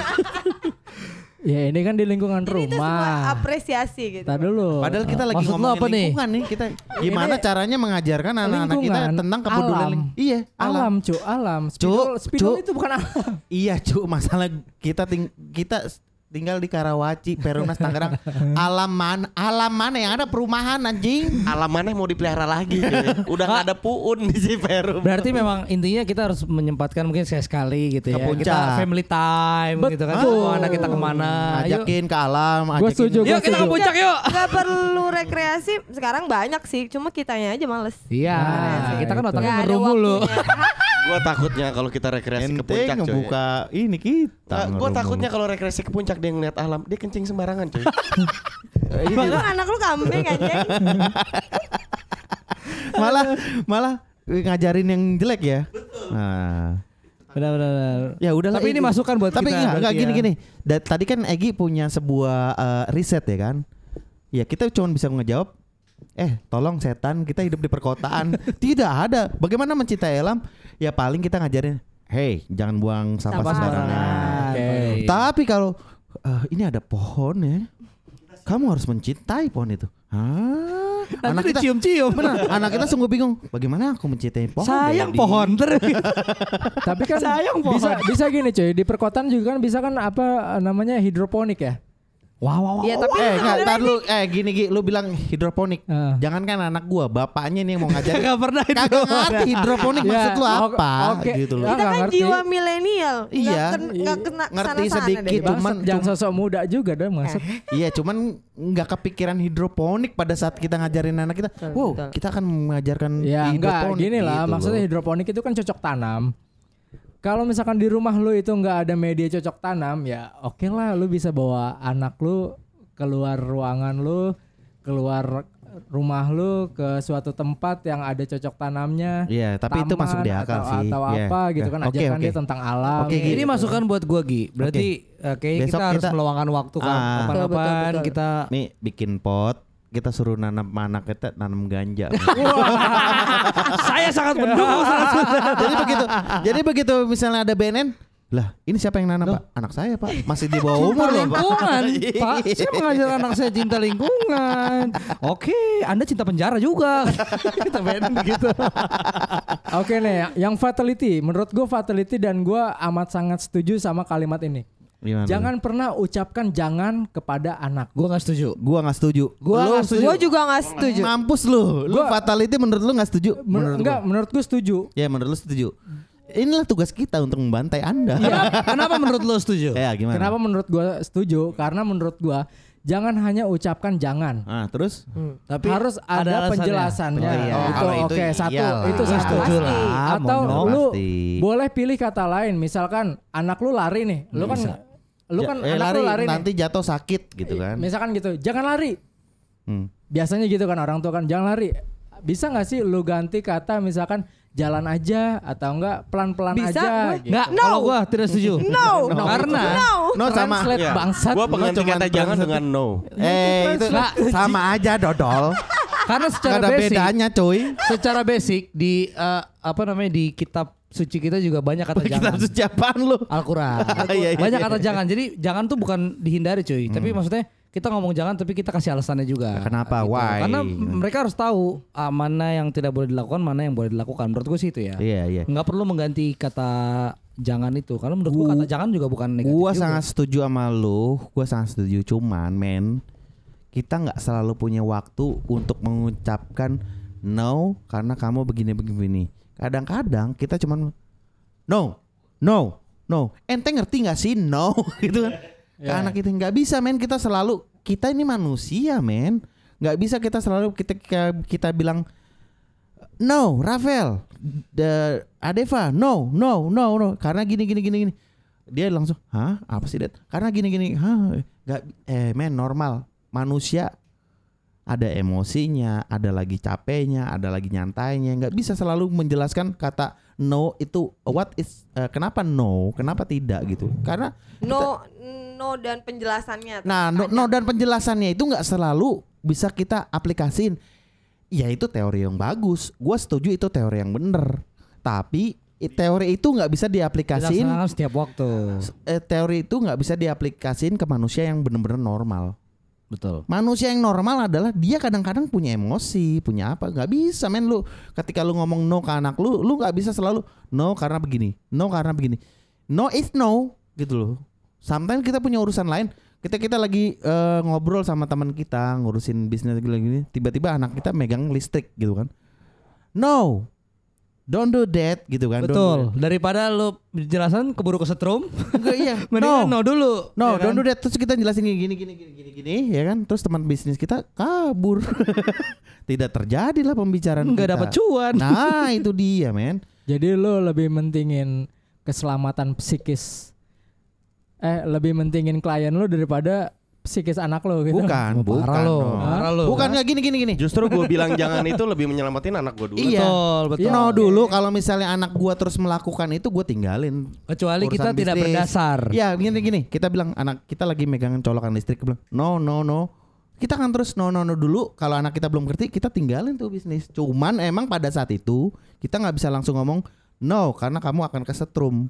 Speaker 2: Ya ini kan di lingkungan
Speaker 7: jadi itu semua
Speaker 2: rumah.
Speaker 7: apresiasi gitu
Speaker 2: Tadi dulu.
Speaker 1: Padahal kita lagi
Speaker 6: maksud lo
Speaker 1: ngomongin
Speaker 6: apa nih?
Speaker 1: lingkungan nih kita gimana caranya mengajarkan anak-anak kita
Speaker 2: Lingkungan,
Speaker 1: tentang kepedulian
Speaker 2: alam.
Speaker 1: ling- iya
Speaker 2: alam, cu, alam. Spidol,
Speaker 1: Cu,
Speaker 2: spidol
Speaker 1: cu.
Speaker 2: itu bukan alam.
Speaker 1: Iya cu masalah kita ting- kita s- tinggal di Karawaci Perumnas Tangerang alam mana alam mana yang ada perumahan anjing
Speaker 3: Alamannya mau dipelihara lagi, cuy. Udah nggak ada puun di si Perum.
Speaker 6: Berarti memang intinya kita harus menyempatkan mungkin sekali sekali
Speaker 1: Ke
Speaker 6: gitu ya. Kita
Speaker 1: puncak.
Speaker 6: family time gitu kan.
Speaker 2: Betul.
Speaker 6: Semua anak kita kemana. Yuk.
Speaker 1: ajakin ke alam
Speaker 2: Nah, Gua
Speaker 1: ajakin
Speaker 2: setuju, gua
Speaker 6: Yuk kita ke
Speaker 2: setuju.
Speaker 6: puncak yuk.
Speaker 7: nggak perlu rekreasi sekarang banyak sih cuma kitanya aja males
Speaker 6: Iya,
Speaker 2: Nah,
Speaker 6: kita kan
Speaker 2: itu.
Speaker 6: otaknya
Speaker 7: Nggak ada
Speaker 6: ngerum mulu.
Speaker 7: waktunya.
Speaker 3: Gua takutnya kalau kita rekreasi ke
Speaker 1: ente
Speaker 3: puncak, cuy.
Speaker 1: ngebuka ini kita
Speaker 3: Nah, gue
Speaker 1: ngerombong.
Speaker 3: takutnya kalau rekreasi ke puncak dia ngeliat alam, dia kencing sembarangan cuy.
Speaker 7: Emang kan anak lu kambing anjing
Speaker 1: malah malah ngajarin yang jelek ya nah
Speaker 6: Benar-benar.
Speaker 1: ya udah
Speaker 6: Tapi ini masukan buat
Speaker 1: tapi
Speaker 6: kita
Speaker 1: enggak, enggak
Speaker 6: berarti
Speaker 1: gini
Speaker 6: ya.
Speaker 1: gini Da- tadi kan Egi punya sebuah eh, riset ya kan ya kita cuma bisa ngejawab eh tolong setan kita hidup di perkotaan tidak ada bagaimana mencintai alam ya paling kita ngajarin hey jangan buang sampah
Speaker 7: Sampah
Speaker 1: sembarangan
Speaker 6: Oke.
Speaker 1: tapi kalau "Eh, ini ada pohon ya kamu harus mencintai pohon itu Hah? anak kita Oh,
Speaker 6: cium-cium.
Speaker 1: benar anak kita sungguh bingung bagaimana aku mencintai pohon
Speaker 6: Sayang
Speaker 1: Daddy?"
Speaker 6: pohon terus.
Speaker 2: Tapi kan
Speaker 6: Sayang pohon.
Speaker 2: bisa bisa gini cuy, di perkotaan juga kan bisa kan apa eh, namanya hidroponik ya.
Speaker 6: Wow, wow, wow.
Speaker 7: ya tapi
Speaker 1: eh enggak, ntar lu eh gini gini lu bilang hidroponik.
Speaker 2: Ah.
Speaker 1: Jangan kan anak gua, bapaknya nih yang mau ngajarin.
Speaker 6: Gak pernah itu.
Speaker 1: Kagak ngerti hidroponik
Speaker 2: Ya,
Speaker 1: maksud lu
Speaker 2: oke-
Speaker 1: apa
Speaker 2: oke.
Speaker 1: gitu loh.
Speaker 2: Ya,
Speaker 7: kita
Speaker 2: nggak
Speaker 7: kan
Speaker 2: ngerti.
Speaker 7: jiwa milenial nggak
Speaker 1: Iya.
Speaker 7: ken- nggak kena
Speaker 1: Ngerti
Speaker 7: sana-sana deh.
Speaker 1: sedikit. Cuman-
Speaker 2: Bangsat, jangan sosok muda juga deh maksud.
Speaker 1: Iya, cuman nggak kepikiran hidroponik pada saat kita ngajarin anak kita. Wow,
Speaker 7: betul.
Speaker 1: kita akan mengajarkan Iya,
Speaker 2: Ya enggak
Speaker 1: hidroponik.
Speaker 2: gini lah,
Speaker 1: gitu
Speaker 2: maksudnya
Speaker 1: loh.
Speaker 2: hidroponik itu kan cocok tanam. Kalau misalkan di rumah lu itu nggak ada media cocok tanam, ya oke lah lu bisa bawa anak lu keluar ruangan lu, keluar rumah lu ke suatu tempat yang ada cocok tanamnya.
Speaker 1: Iya, tapi itu
Speaker 2: taman
Speaker 1: masuk di akal
Speaker 2: atau,
Speaker 1: sih.
Speaker 2: Atau
Speaker 1: Iya,
Speaker 2: apa gitu
Speaker 1: iya.
Speaker 2: kan
Speaker 1: Oke,
Speaker 2: ajarkan
Speaker 1: oke.
Speaker 2: dia tentang alam.
Speaker 1: Oke,
Speaker 6: Ini masukan buat gua Gi. Berarti eh, kayaknya
Speaker 1: Besok
Speaker 6: kita harus
Speaker 1: kita-
Speaker 6: meluangkan waktu kan.
Speaker 1: Ah.
Speaker 7: Betul, betul,
Speaker 6: Kapan-kapan
Speaker 7: betul.
Speaker 6: kita
Speaker 1: nih bikin pot, kita suruh nanam anak kita nanam ganja.
Speaker 6: Saya sangat mendukung.
Speaker 1: jadi begitu. Jadi begitu misalnya ada BNN, lah ini siapa yang nanam, Pak? Anak saya, Pak. Masih di bawah
Speaker 6: Cinta
Speaker 1: umur loh, Pak.
Speaker 6: lingkungan,
Speaker 1: Iya.
Speaker 6: Pak. Saya mengajar anak saya cinta lingkungan. Oke, Anda cinta penjara juga. Kita band gitu.
Speaker 2: Oke nih, yang fatality, menurut gue fatality dan gua amat sangat setuju sama kalimat ini.
Speaker 1: Gimana?
Speaker 2: Jangan pernah ucapkan jangan kepada anak.
Speaker 6: Gua nggak setuju.
Speaker 1: gua nggak setuju.
Speaker 6: Gua
Speaker 1: Lu
Speaker 6: nggak setuju.
Speaker 7: gue juga nggak setuju
Speaker 1: Mampus lu. Lu
Speaker 2: Gua-
Speaker 1: fatality menurut lu nggak setuju?
Speaker 2: Menurut enggak,
Speaker 1: gua.
Speaker 2: menurut gue setuju.
Speaker 1: Ya menurut lu setuju. Inilah tugas kita untuk membantai Anda.
Speaker 6: Kenapa menurut lo setuju?
Speaker 1: ya gimana?
Speaker 2: Kenapa menurut gua setuju? Karena menurut gua jangan hanya ucapkan jangan.
Speaker 1: Ah, terus?
Speaker 6: Tapi
Speaker 2: harus ada,
Speaker 6: alasannya.
Speaker 2: penjelasannya.
Speaker 1: Oh, iya.
Speaker 2: Oh, itu
Speaker 1: Kalau itu
Speaker 2: oke, satu.
Speaker 1: iyalah.
Speaker 2: Itu
Speaker 1: Gua
Speaker 2: satu.
Speaker 6: setuju lah,
Speaker 2: Atau
Speaker 1: mau
Speaker 2: lu
Speaker 1: pasti.
Speaker 2: boleh pilih kata lain. Misalkan anak lu lari nih. Lu kan lu
Speaker 1: Ja-
Speaker 2: kan
Speaker 1: eh,
Speaker 2: anak
Speaker 1: lari,
Speaker 2: lu lari nih.
Speaker 1: nanti jatuh sakit gitu kan.
Speaker 2: Misalkan gitu, jangan lari.
Speaker 1: Hmm.
Speaker 2: Biasanya gitu kan orang tua kan jangan lari. Bisa nggak sih lu ganti kata misalkan jalan aja atau enggak pelan-pelan
Speaker 7: Bisa,
Speaker 2: aja gitu.
Speaker 7: gue-
Speaker 6: Enggak, kalau gua tidak setuju.
Speaker 7: No. No.
Speaker 6: Karena
Speaker 7: no
Speaker 1: No sama.
Speaker 2: Translate
Speaker 3: Iya.
Speaker 2: bangsat.
Speaker 3: Gua pengganti
Speaker 1: lu cuman
Speaker 3: kata jangan
Speaker 1: bangsat.
Speaker 3: dengan no.
Speaker 1: Eh, itu
Speaker 6: Nah,
Speaker 1: sama aja dodol.
Speaker 6: karena
Speaker 1: Gak
Speaker 6: secara
Speaker 1: ada
Speaker 6: basic,
Speaker 1: bedanya, cuy.
Speaker 6: secara basic di eh, apa namanya di kitab suci kita juga banyak kata
Speaker 1: Kita
Speaker 6: jangan.
Speaker 1: harus jawaban lu.
Speaker 6: Al-Quran.
Speaker 1: Iya, iya,
Speaker 6: Banyak
Speaker 1: iya.
Speaker 6: kata jangan. Jadi jangan tuh bukan dihindari cuy. Tapi maksudnya kita ngomong jangan tapi kita kasih alasannya
Speaker 1: Hmm. Ya,
Speaker 6: juga. Gitu.
Speaker 1: Kenapa? Why? Gitu.
Speaker 6: Karena m- mereka harus tahu ah, mana yang tidak boleh dilakukan, mana yang boleh dilakukan. Menurut gue sih itu ya.
Speaker 1: Iya, iya.
Speaker 6: Nggak perlu mengganti kata jangan itu. Karena menurut gue kata jangan juga bukan negatif
Speaker 1: Gua
Speaker 6: juga.
Speaker 1: sangat setuju sama lu, gua sangat setuju cuman men kita nggak selalu punya waktu untuk mengucapkan no karena kamu begini begini. begini. kadang-kadang kita cuman no no no ente ngerti nggak sih no gitu kan ke
Speaker 2: Iya.
Speaker 1: anak kita nggak bisa men kita selalu kita ini manusia men nggak bisa kita selalu kita kita, kita bilang no Rafael the Adeva no no no no karena gini gini gini gini dia langsung hah apa sih Dad? karena gini gini hah nggak eh men normal manusia ada emosinya, ada lagi capeknya, ada lagi nyantainya, nggak bisa selalu menjelaskan kata no itu what is eh, kenapa no, kenapa tidak gitu. Karena
Speaker 7: no no dan penjelasannya
Speaker 1: Nah, no, no dan penjelasannya itu nggak selalu bisa kita aplikasiin. Ya itu teori yang bagus. Gua setuju itu teori yang bener. Tapi i- teori itu nggak bisa diaplikasiin.
Speaker 6: Dilaksanakan setiap waktu.
Speaker 1: eh, teori itu nggak bisa diaplikasiin ke manusia yang bener-bener normal.
Speaker 6: Betul.
Speaker 1: Manusia yang normal adalah dia kadang-kadang punya emosi, punya apa? Gak bisa men lu. Ketika lu ngomong no ke anak lu, lu gak bisa selalu no karena begini, no karena begini. No is no gitu loh. Sometimes kita punya urusan lain. Kita kita lagi eh, ngobrol sama teman kita ngurusin bisnis gini-gini, tiba-tiba anak kita megang listrik gitu kan. No. Don't do that gitu kan. Don't do
Speaker 6: Betul. Daripada lu jelasan keburu kesetrum,
Speaker 1: that. Enggak, iya.
Speaker 6: mendingan no, dulu.
Speaker 1: No,
Speaker 6: ya kan?
Speaker 1: don't do that. Terus kita jelasin gini gini gini gini gini, gini ya kan. Terus teman bisnis kita kabur. Tidak terjadi lah pembicaraan
Speaker 6: Nggak
Speaker 1: kita.
Speaker 6: dapat cuan.
Speaker 1: Nah, itu dia, men.
Speaker 2: Jadi lo lebih mentingin keselamatan psikis eh lebih mentingin klien lo daripada psikis anak lo gitu.
Speaker 1: Bukan,
Speaker 6: Oh,
Speaker 1: bukan.
Speaker 6: parah lo,
Speaker 1: no.
Speaker 6: parah lo.
Speaker 1: Bukan nggak gini gini gini.
Speaker 3: Justru gue bilang jangan itu lebih menyelamatin anak gue dulu.
Speaker 1: Iya.
Speaker 6: Betul, betul.
Speaker 1: No dulu kalau misalnya anak gua terus melakukan itu gua tinggalin.
Speaker 6: Kecuali kita
Speaker 1: Urusan
Speaker 6: tidak
Speaker 1: bisnis.
Speaker 6: berdasar.
Speaker 1: Ya gini gini kita bilang anak kita lagi megang colokan listrik kita bilang no no no kita kan terus no no no dulu kalau anak kita belum ngerti kita tinggalin tuh bisnis cuman emang pada saat itu kita nggak bisa langsung ngomong no karena kamu akan kesetrum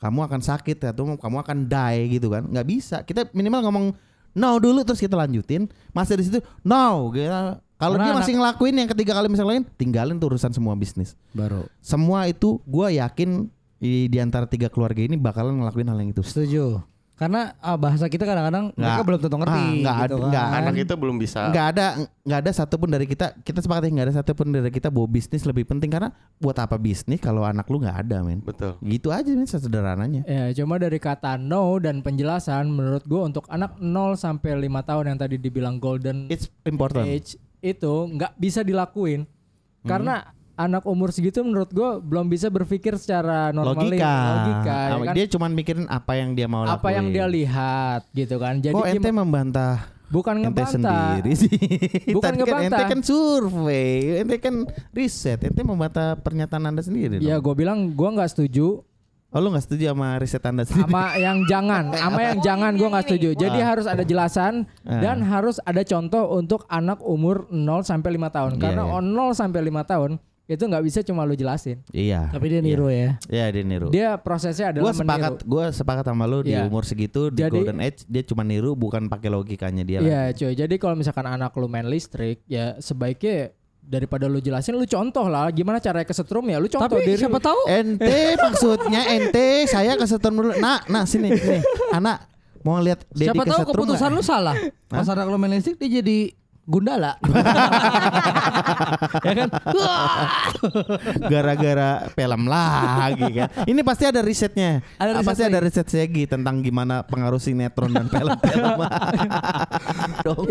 Speaker 1: kamu akan sakit atau kamu akan die gitu kan nggak bisa kita minimal ngomong no dulu terus kita lanjutin masih di situ no Kita- kalau
Speaker 2: Karena
Speaker 1: dia
Speaker 2: anak-
Speaker 1: masih ngelakuin yang ketiga kali misalnya lain tinggalin tuh urusan semua bisnis
Speaker 6: Baru.
Speaker 1: semua itu gue yakin di, di antara tiga keluarga ini bakalan ngelakuin hal yang itu
Speaker 6: Setuju. Karena ah, bahasa kita kadang-kadang mereka
Speaker 1: Nggak.
Speaker 6: belum tentu ngerti
Speaker 1: Ah, nggak ada-
Speaker 6: gitu kan.
Speaker 1: nggak
Speaker 3: Anak itu belum bisa.
Speaker 1: nggak ada nggak ada satupun dari kita kita sepakati nggak ada satupun dari kita bahwa bisnis lebih penting karena buat apa bisnis kalau anak lu nggak ada men
Speaker 3: Betul.
Speaker 1: gitu aja men sederhananya
Speaker 2: Ya, cuma dari kata no dan penjelasan menurut gua untuk anak 0 sampai 5 tahun yang tadi dibilang golden
Speaker 1: it's important
Speaker 2: age itu nggak bisa dilakuin.
Speaker 1: Hmm.
Speaker 2: Karena anak umur segitu menurut gua belum bisa berpikir secara normal
Speaker 1: logika,
Speaker 2: logika ya
Speaker 1: Apa-
Speaker 2: kan?
Speaker 1: dia cuman mikirin apa yang dia mau
Speaker 2: apa yang dia
Speaker 1: lakuin.
Speaker 2: lihat gitu kan. Jadi
Speaker 1: kok ente
Speaker 2: gim-
Speaker 1: membantah
Speaker 2: bukan
Speaker 1: ente
Speaker 2: ngebantah.
Speaker 1: sendiri sih Tadi kan
Speaker 2: Bukan
Speaker 1: ente
Speaker 2: ngebantah.
Speaker 1: kan survei ente kan riset ente membantah pernyataan anda sendiri
Speaker 2: Ya
Speaker 1: dong.
Speaker 2: gue bilang gue nggak setuju
Speaker 1: oh lu nggak setuju sama riset anda sendiri
Speaker 2: sama yang jangan, sama yang
Speaker 7: Oh,
Speaker 2: jangan gue
Speaker 7: ini,
Speaker 2: nggak
Speaker 7: ini.
Speaker 2: setuju.
Speaker 1: Ah.
Speaker 2: Jadi harus ada jelasan dan harus ada contoh untuk anak umur 0 sampai 5 tahun.
Speaker 1: Iya,
Speaker 2: Karena
Speaker 1: iya.
Speaker 2: on 0 sampai 5 tahun itu nggak bisa cuma lu jelasin.
Speaker 1: iya
Speaker 6: Tapi dia niru ya.
Speaker 1: iya dia niru
Speaker 2: Dia prosesnya adalah
Speaker 1: Gua sepakat
Speaker 2: meniru.
Speaker 1: gua sepakat sama lu di
Speaker 2: Iya.
Speaker 1: umur segitu di
Speaker 2: Jadi-
Speaker 1: golden age dia cuma niru bukan pakai logikanya dia lagi.
Speaker 2: Iya cuy. Jadi kalau misalkan anak lu main listrik ya sebaiknya daripada lu jelasin lu contoh lah gimana caranya kesetrum ya lu contoh
Speaker 6: Tapi
Speaker 2: diri lu.
Speaker 6: siapa tahu
Speaker 1: ente maksudnya ente saya kesetrum dulu nah nah sini sini anak mau lihat Dedi
Speaker 6: siapa tahu
Speaker 1: kesetrum
Speaker 6: keputusan lu
Speaker 1: nggak?
Speaker 6: salah. Pas anak lu main listrik dia jadi gundala. ya kan?
Speaker 1: gara-gara film lagi kan ini pasti ada risetnya
Speaker 6: Ada riset
Speaker 1: pasti
Speaker 6: lagi.
Speaker 1: ada riset segi tentang gimana pengaruh sinetron dan film film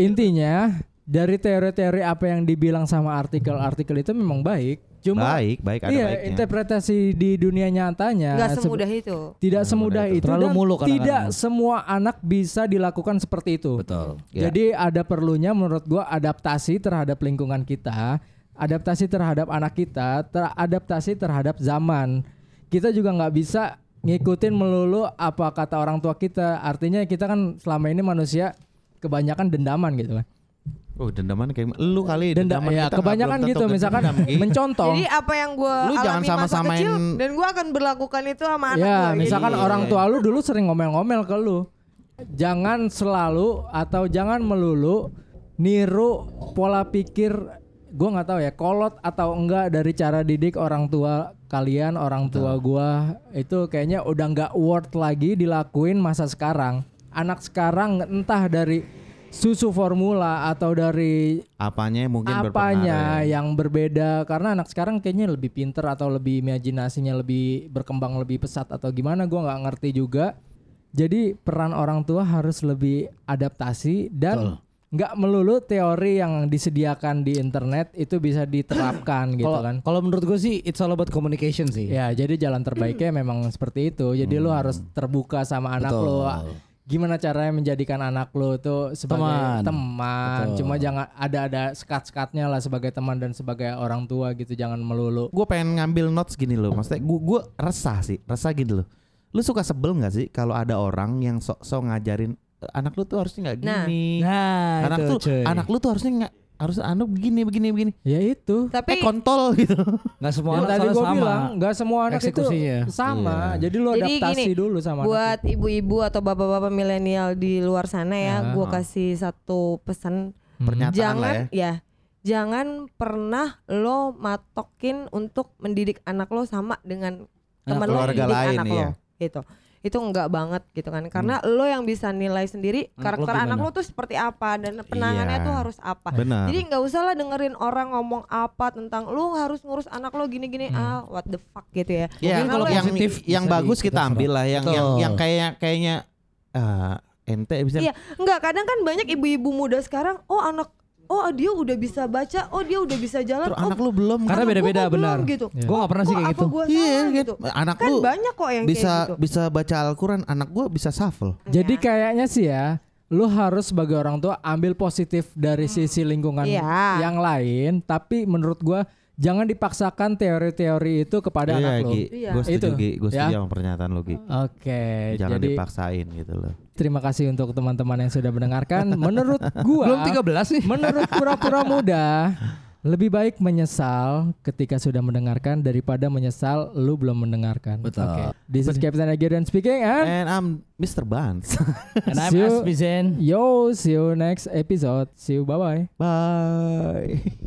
Speaker 2: Intinya dari teori-teori apa yang dibilang sama artikel-artikel itu memang baik. Cuma
Speaker 1: baik baik ada
Speaker 2: iya,
Speaker 1: baiknya
Speaker 2: interpretasi di dunia nyatanya
Speaker 7: nggak
Speaker 2: sebe-
Speaker 7: semudah itu
Speaker 2: tidak semudah itu,
Speaker 6: Terlalu
Speaker 2: dan
Speaker 6: mulu kadang-kadang.
Speaker 2: tidak semua anak bisa dilakukan seperti itu.
Speaker 6: Betul.
Speaker 1: Ya.
Speaker 2: Jadi ada perlunya menurut gua adaptasi terhadap lingkungan kita, adaptasi terhadap anak kita, teradaptasi terhadap zaman. Kita juga nggak bisa ngikutin melulu apa kata orang tua kita. Artinya kita kan selama ini manusia kebanyakan dendaman gitu kan.
Speaker 1: oh dendaman kayak lu kali
Speaker 2: Denda,
Speaker 1: dendaman kita
Speaker 2: ya
Speaker 1: nggak-
Speaker 2: kebanyakan
Speaker 1: belum tentu
Speaker 2: gitu misalkan
Speaker 1: dendam, Gi.
Speaker 2: mencontoh.
Speaker 7: Jadi apa yang gue
Speaker 1: Lu
Speaker 7: alami
Speaker 1: jangan
Speaker 7: masa
Speaker 1: sama-samain-
Speaker 7: kecil dan gue akan berlakukan itu sama anak
Speaker 2: ya,
Speaker 7: gue.
Speaker 2: misalkan
Speaker 1: Iya.
Speaker 2: orang tua lu dulu sering ngomel-ngomel ke lu. Jangan selalu atau jangan melulu niru pola pikir gua nggak tahu ya kolot atau enggak dari cara didik orang tua kalian orang tua gua itu kayaknya udah nggak worth lagi dilakuin masa sekarang anak sekarang entah dari susu formula atau dari
Speaker 1: Apanya yang mungkin
Speaker 2: apanya
Speaker 1: berpengaruh.
Speaker 2: yang berbeda karena anak sekarang kayaknya lebih pinter atau lebih imajinasinya lebih berkembang lebih pesat atau gimana gua nggak ngerti juga jadi peran orang tua harus lebih adaptasi dan nggak melulu teori yang disediakan di internet itu bisa diterapkan gitu
Speaker 6: Kalau
Speaker 2: kan
Speaker 6: kalau menurut gue sih it's all about communication sih.
Speaker 2: ya jadi jalan terbaiknya memang seperti itu jadi lu harus terbuka sama anak
Speaker 6: Hmm. Betul.
Speaker 2: lu gimana caranya menjadikan anak lu tuh sebagai
Speaker 6: Teman.
Speaker 2: teman, cuma jangan ada ada sekat-sekatnya lah sebagai teman dan sebagai orang tua gitu jangan melulu
Speaker 1: Gue pengen ngambil notes gini loh, maksudnya gue gue resah sih, resah gini loh. Lu suka sebel nggak sih kalau ada orang yang sok-sok ngajarin "Eh, anak lu tuh harusnya nggak
Speaker 7: Nah.
Speaker 1: gini,
Speaker 6: Nah,
Speaker 1: anak
Speaker 6: itu,
Speaker 1: tuh
Speaker 6: cuy.
Speaker 1: anak lu tuh harusnya nggak harus anak begini begini begini.
Speaker 2: ya itu
Speaker 1: Eh
Speaker 7: Tapi
Speaker 1: kontol gitu.
Speaker 6: Nggak semua
Speaker 2: yang
Speaker 6: anak
Speaker 2: tadi
Speaker 6: salah
Speaker 2: gue
Speaker 6: sama.
Speaker 2: bilang nggak semua anak itu
Speaker 6: Eksekusinya. Iya.
Speaker 2: sama jadi lu
Speaker 7: Jadi
Speaker 2: adaptasi
Speaker 7: gini,
Speaker 2: dulu sama anak
Speaker 7: buat ibu-ibu atau bapak-bapak milenial di luar sana ya, gua kasih satu pesan
Speaker 1: Pernyataan lah
Speaker 7: jangan
Speaker 1: ya.
Speaker 7: jangan pernah lo matokin untuk mendidik anak lo sama dengan teman lo
Speaker 1: keluarga
Speaker 7: mendidik
Speaker 1: lain,
Speaker 7: anak
Speaker 1: iya. Hmm.
Speaker 7: lo gitu itu enggak banget gitu kan karena lo yang bisa nilai sendiri
Speaker 6: Anak lo
Speaker 7: karakter
Speaker 6: gimana?
Speaker 7: anak lo tuh seperti apa dan penangannya
Speaker 1: Iya.
Speaker 7: tuh harus apa
Speaker 6: Ah.
Speaker 1: Benar. Ya,
Speaker 7: jadi nggak usah lah dengerin orang ngomong apa tentang lu harus ngurus anak lo gini-gini
Speaker 6: Hmm.
Speaker 7: ah what the fuck gitu ya.
Speaker 1: Ya,
Speaker 7: Karena lo
Speaker 1: yang
Speaker 7: yang-
Speaker 6: positif
Speaker 1: yang
Speaker 6: bisa
Speaker 1: bagus
Speaker 6: di-
Speaker 1: kita
Speaker 6: kita
Speaker 1: ambil lah yang
Speaker 6: Betul.
Speaker 1: yang yang kayak kayaknya eh, ente bisa
Speaker 7: Iya, nggak kadang kan banyak ibu-ibu muda sekarang oh anak oh dia udah bisa baca, oh dia udah bisa jalan,
Speaker 1: Terus
Speaker 7: oh
Speaker 1: anak lu belum kan?
Speaker 6: Karena
Speaker 7: anak gua
Speaker 6: beda-beda,
Speaker 7: kok belum
Speaker 6: benar.
Speaker 7: gitu.
Speaker 6: Gua nggak pernah sih
Speaker 7: kok
Speaker 6: kayak
Speaker 7: apa
Speaker 6: gitu.
Speaker 7: gua
Speaker 1: Iya,
Speaker 7: salah
Speaker 1: kan.
Speaker 7: gitu.
Speaker 1: Anak
Speaker 7: kan
Speaker 1: lu
Speaker 7: banyak kok yang
Speaker 1: bisa
Speaker 7: kayak gitu.
Speaker 1: bisa baca Al-Qur'an, anak gua bisa shuffle.
Speaker 2: Jadi
Speaker 6: Iya.
Speaker 2: kayaknya sih ya, lu harus sebagai orang tua ambil positif
Speaker 6: Hmm.
Speaker 2: dari sisi lingkungan
Speaker 7: Iya.
Speaker 2: yang lain, tapi menurut gua jangan dipaksakan teori-teori itu kepada anak lu.
Speaker 1: Gi.
Speaker 7: Iya.
Speaker 1: Gua setuju,
Speaker 2: Itu,
Speaker 1: Gi. Gua setuju
Speaker 2: ya.
Speaker 1: sama pernyataan lu, Gi.
Speaker 2: Oke,
Speaker 1: Jangan
Speaker 2: jadi
Speaker 1: dipaksain gitu loh.
Speaker 2: terima kasih untuk teman-teman yang sudah mendengarkan. Menurut gua
Speaker 6: Belum 13 sih.
Speaker 2: Menurut pura-pura muda, lebih baik menyesal ketika sudah mendengarkan daripada menyesal lu belum mendengarkan.
Speaker 6: Betul.
Speaker 2: Oke. This is Captain Agerian speaking and
Speaker 1: And I'm Mr. Bans.
Speaker 6: And I'm
Speaker 2: See you.
Speaker 6: Asbizen.
Speaker 2: yo, see you next episode. See you, bye-bye.
Speaker 1: Bye.